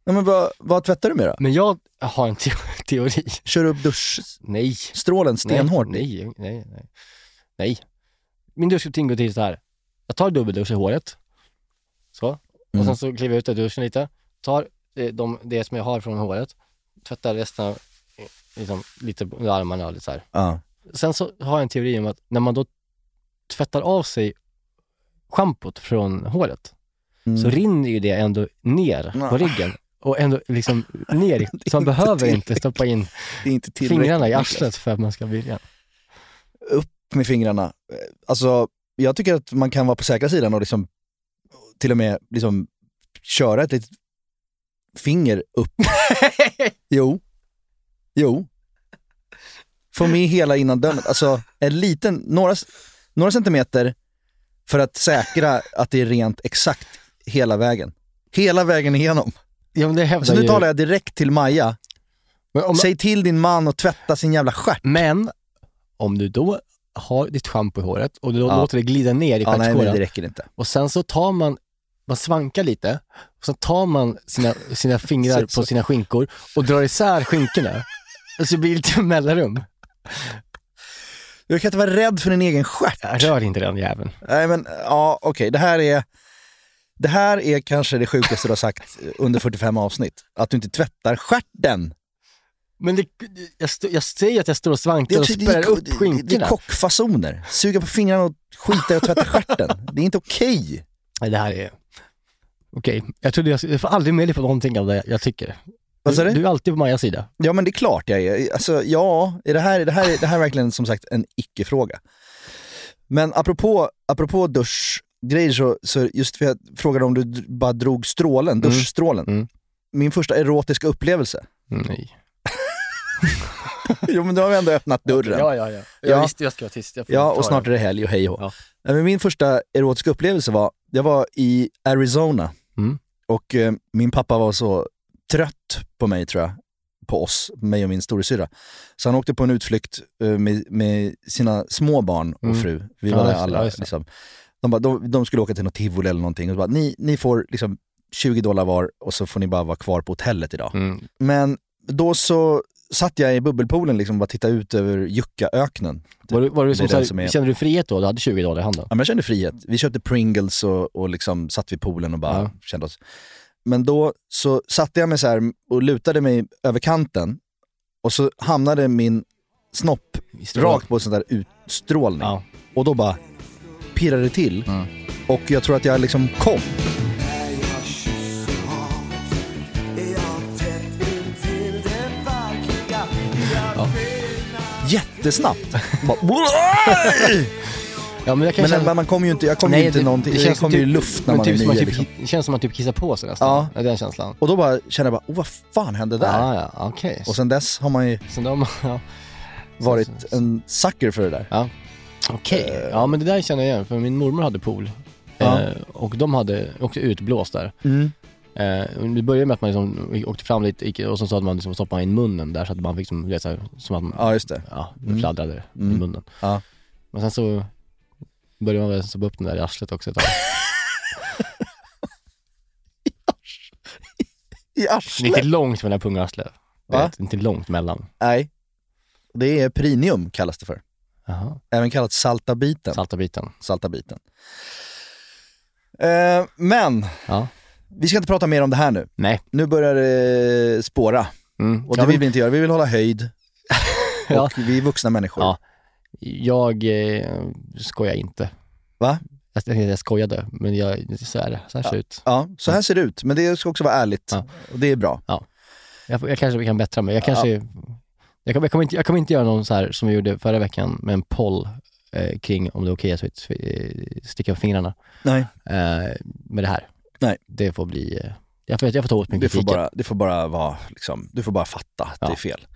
S4: Ja, men vad, vad tvättar du med då?
S5: Men jag har en te- teori.
S4: Kör du upp duschstrålen
S5: Nej.
S4: stenhårt? i?
S5: Nej, nej, nej. nej. nej. Min duschrutin går till så här. Jag tar dubbeldusch i håret. Så. Och
S4: Mm.
S5: sen så kliver jag ut ur duschen lite. Tar eh, de, det som jag har från håret. Tvättar resten av eh, liksom, lite på armarna och lite så här.
S4: Ja.
S5: Sen så har jag en teori om att när man då tvättar av sig schampot från håret
S4: Mm.
S5: så rinner ju det ändå ner på
S4: Nej.
S5: ryggen. Och ändå liksom ner. i-
S4: är
S5: Så
S4: inte
S5: man behöver inte
S4: tillräckligt.
S5: stoppa in
S4: det är inte tillräckligt.
S5: fingrarna i
S4: Niklas.
S5: arslet för att man ska bli ren.
S4: Upp med fingrarna. Eh, Alltså, jag tycker att man kan vara på säkra sidan och liksom, till och med liksom, köra ett litet finger upp. jo. Jo. Få med hela innandömet. Alltså, en liten, några, några centimeter för att säkra att det är rent exakt hela vägen. Hela vägen igenom.
S5: Ja, men det hävdar
S4: Så nu
S5: ju...
S4: talar jag direkt till Maja.
S5: Men om,
S4: Säg till din man att tvätta sin jävla stjärt.
S5: men om du då har ditt schampo i håret och du då
S4: Ja.
S5: låter det glida ner i
S4: Ja, nej, men det
S5: stjärtskålen
S4: räcker inte.
S5: och sen så tar man, man svankar lite och sen tar man sina, sina fingrar
S4: Så- så.
S5: på sina skinkor och drar isär skinkorna. Och så blir det lite mellanrum.
S4: Du kan inte vara rädd för din egen stjärt.
S5: Jag rör inte den jäveln.
S4: Nej, men ja, okej. Det här är... Det här är kanske det sjukaste du har sagt under 45 avsnitt. Att du inte tvättar stjärten.
S5: Men det, jag, stå, jag säger att jag står och svankar och
S4: också-
S5: spärrar
S4: ko-
S5: upp
S4: det, det
S5: skinkorna.
S4: är kockfasoner. Suga på fingrarna och skita i att tvätta stjärten. Det är inte okej.
S5: Nej, det här är... Okej, jag trodde jag, jag får aldrig med dig på någonting av det jag tycker.
S4: Vad sa du?
S5: Du är alltid på Majas sida.
S4: Ja, men det är klart jag är. Alltså, ja, är det här, är det här, är det här är verkligen som sagt en icke-fråga. Men apropå, apropå duschgrejer, så, så just för jag frågade om du d- bara drog strålen, duschstrålen.
S5: Mm.
S4: Min första erotiska upplevelse.
S5: Nej.
S4: jo, men nu har vi ändå öppnat dörren.
S5: Ja, ja, ja. Jag
S4: Ja.
S5: visste jag skulle vara tyst. Jag får
S4: Ja,
S5: ta
S4: och snart
S5: det.
S4: är det helg och hej och
S5: Ja.
S4: Nej, men Min första erotiska upplevelse var, jag var i Arizona
S5: Mm.
S4: och eh, min pappa var så trött på mig tror jag, på oss, mig och min storasyrra. Så han åkte på en utflykt eh, med, med sina små barn och
S5: Mm.
S4: fru. Vi
S5: Ja,
S4: var där
S5: just det, ja,
S4: alla.
S5: just det.
S4: liksom. de, bara, de, de skulle åka till något tivoli eller någonting och så bara, ni, ni får liksom 20 dollar var och så får ni bara vara kvar på hotellet idag.
S5: Mm.
S4: Men då så satt jag i bubbelpoolen liksom, och bara tittade ut över Jukkaöknen.
S5: Var du, var du
S4: Det
S5: som,
S4: är
S5: så
S4: Typ den som
S5: här,
S4: är-
S5: Kände du frihet då? Du hade 20 dollar i handen.
S4: Ja, men jag kände frihet. Vi köpte Pringles och, och liksom satt vid poolen och bara
S5: Ja.
S4: kände oss. Men då så satte jag mig så här och lutade mig över kanten och så hamnade min snopp
S5: Visst,
S4: rakt på en sån där utstrålning.
S5: Ja.
S4: Och då bara pirrade det till. Och jag tror att jag liksom kom. Jättesnabbt. Bara,
S5: Ja, men jag kan
S4: Men
S5: känna...
S4: man, man kommer ju inte, jag kommer ju inte någonting, det, kommer ju luft när
S5: men
S4: man
S5: typ
S4: är nio.
S5: som man typ,
S4: liksom.
S5: Det känns som man typ kissar på sig nästan.
S4: Ja.
S5: Ja. Den känslan.
S4: Och då bara känner jag bara, oh, vad fan hände där?
S5: Ja, ja, okej.
S4: Och sen dess har man ju
S5: Så de, ja.
S4: varit en sucker för det där.
S5: Okej. Ja, men det där känner jag igen, för min mormor hade pool.
S4: Eh. Ja. Mm.
S5: Eh, och de hade också utblåst där. Eh, det började med att man liksom åkte fram dit gick- och så sa att man liksom stoppade in munnen där så att man fick som, det är så här, som att man
S4: Ja, just det.
S5: ja,
S4: Mm.
S5: fladdrade i
S4: Mm.
S5: munnen.
S4: Ja.
S5: Men sen så började man väl stoppa upp den där i arslet också ett tag.
S4: I
S5: Det är inte
S4: arslet?
S5: långt mellan pung och arsle. Det
S4: Va?
S5: är inte långt mellan.
S4: Nej. Det är prinium kallas det för.
S5: Jaha.
S4: Även kallat saltabiten.
S5: Salta biten.
S4: saltabiten. Eh, men,
S5: Ja.
S4: vi ska inte prata mer om det här nu.
S5: Nej.
S4: Nu börjar det spåra.
S5: Mm.
S4: Och det
S5: Ja,
S4: vill vi inte göra. Vi vill hålla höjd.
S5: Ja.
S4: Och vi är vuxna människor.
S5: Ja. Jag eh, skojar inte.
S4: Va?
S5: Jag, jag, jag skojade, men jag, så är det. Så här ser det ut.
S4: Ja, så här ser det ut. Men det ska också vara ärligt.
S5: Ja.
S4: Och det är bra.
S5: Jag, får- jag kanske kan bättra mig. Jag kanske... Jag, kommer, jag, kommer inte, jag kommer inte göra någon så här som vi gjorde förra veckan med en poll eh, kring om det är okej att svi- svi- eh, sticka upp fingrarna
S4: Nej,
S5: eh, med det här.
S4: Nej.
S5: Det får bli... Eh, jag, får, jag får ta åt mig
S4: det får,
S5: kritiken.
S4: bara, det får bara vara, liksom, du får bara fatta att
S5: Ja.
S4: det är fel.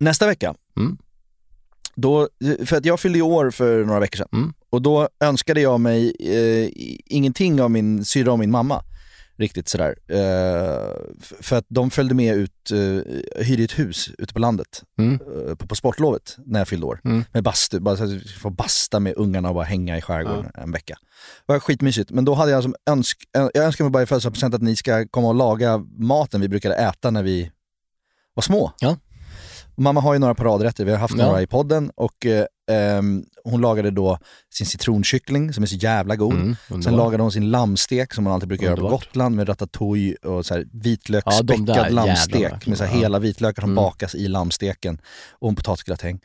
S4: Nästa vecka,
S5: Mm.
S4: då, för att jag fyllde ju år för några veckor sedan
S5: Mm.
S4: och då önskade jag mig eh, i- ingenting av min syrra och min mamma. Riktigt sådär. Eh, f- för att de följde med ut, eh, hyrde ett hus ute på landet
S5: Mm.
S4: eh, på, på sportlovet när jag fyllde år.
S5: Mm.
S4: Med bastu, bara så att jag får basta med ungarna och bara hänga i skärgården en vecka. Det var skitmysigt. Men då hade jag som önsk, ö- jag önskar mig bara i födelsedagspresent att ni ska komma och laga maten vi brukade äta när vi var små.
S5: Ja.
S4: Och Mamma har ju några paradrätter, vi har haft
S5: Ja.
S4: några i podden och eh, ehm, hon lagade då sin citronkyckling som är så jävla god.
S5: Mm,
S4: Sen
S5: underbart.
S4: lagade hon sin lammstek som man alltid brukar göra
S5: Underbart.
S4: på Gotland med ratatouille och så här
S5: Ja, de där
S4: vitlöksspäckad
S5: jävlarna
S4: lammstek
S5: verkligen.
S4: med så här
S5: Ja.
S4: hela vitlökar som
S5: Mm.
S4: bakas i lammsteken och en potatisgratäng.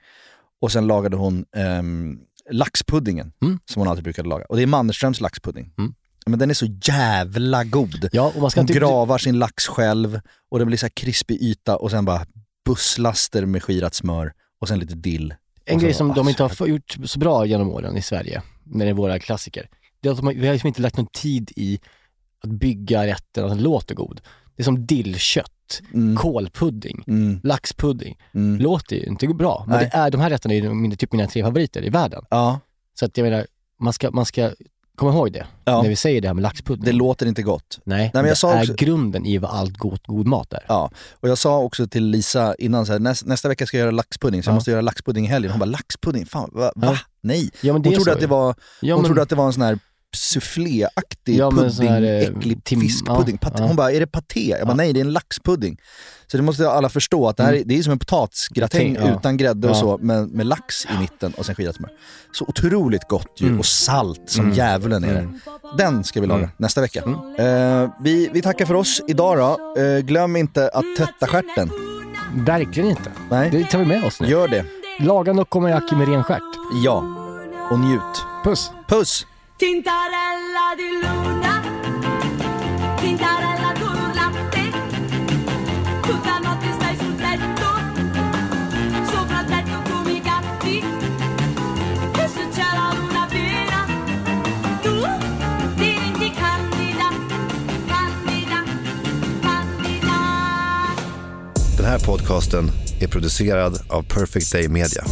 S4: Och sen lagade hon ehm, laxpuddingen
S5: Mm.
S4: som hon alltid brukade laga. Och det är Mannerströms laxpudding.
S5: Mm.
S4: Men den är så jävla god.
S5: Ja, och man ska
S4: Hon
S5: inte...
S4: gravar sin lax själv och den blir så här krispig yta och sen bara busslaster med skirat smör och sen lite dill.
S5: En
S4: Och sen
S5: grej
S4: så
S5: som
S4: bara,
S5: de
S4: "Ah,
S5: inte har f- gjort så bra genom åren i Sverige, när det är våra klassiker, det är att de har, vi har liksom inte lagt någon tid i att bygga rätten att den låter god. Det är som dillkött,
S4: Mm.
S5: kålpudding,
S4: Mm,
S5: laxpudding.
S4: mm.
S5: Låter ju inte bra, men
S4: Nej.
S5: det är, de här rätterna är ju mina- typ mina tre favoriter i världen.
S4: Ja,
S5: Så att jag menar, man ska, man ska komma ihåg det
S4: Ja.
S5: när vi säger det här med
S4: det
S5: laxpudding.
S4: låter inte gott.
S5: Nej, men
S4: men
S5: det
S4: jag sa
S5: är
S4: också-
S5: grunden i vad allt god, god mat är.
S4: Ja, och jag sa också till Lisa innan, så här, näs, nästa vecka ska jag göra laxpudding, så jag
S5: Ja.
S4: måste göra laxpudding i helgen. Hon bara, laxpudding? Fan, va? va?
S5: Ja.
S4: Nej.
S5: Ja, men
S4: Hon,
S5: är
S4: trodde
S5: så
S4: att
S5: ju.
S4: det, var,
S5: ja,
S4: hon
S5: men-
S4: trodde att det var en sån här souffléaktig
S5: Ja, men sån
S4: pudding,
S5: här, eh,
S4: äcklig
S5: tim-
S4: fiskpudding.
S5: ja,
S4: Paté-
S5: ja.
S4: Hon bara, är det paté? Jag bara, nej det är en laxpudding. Så det måste alla förstå, att det här är, det är som en potatisgratäng
S5: Mm. Gratäng, ja.
S4: utan grädde och
S5: Ja.
S4: så, men med lax i mitten och sen skirat smör. Så otroligt gott ju, och salt som djävulen är det. Den ska vi laga nästa vecka. Eh, vi, vi tackar för oss idag då. Eh, glöm inte att tvätta stjärten.
S5: Verkligen inte.
S4: Nej.
S5: Det tar vi med oss nu.
S4: Gör det.
S5: Laga Nokomayaki med ren stjärt.
S4: Ja. Och njut.
S5: Puss!
S4: Puss!
S9: Tintarella di luna, tintarella con latte, tutta notte stai sul letto, sopra il letto come i gatti, e se c'è la luna vera, tu diventi candida, candida, candida.
S10: Den här podcasten är producerad av Perfect Day Media.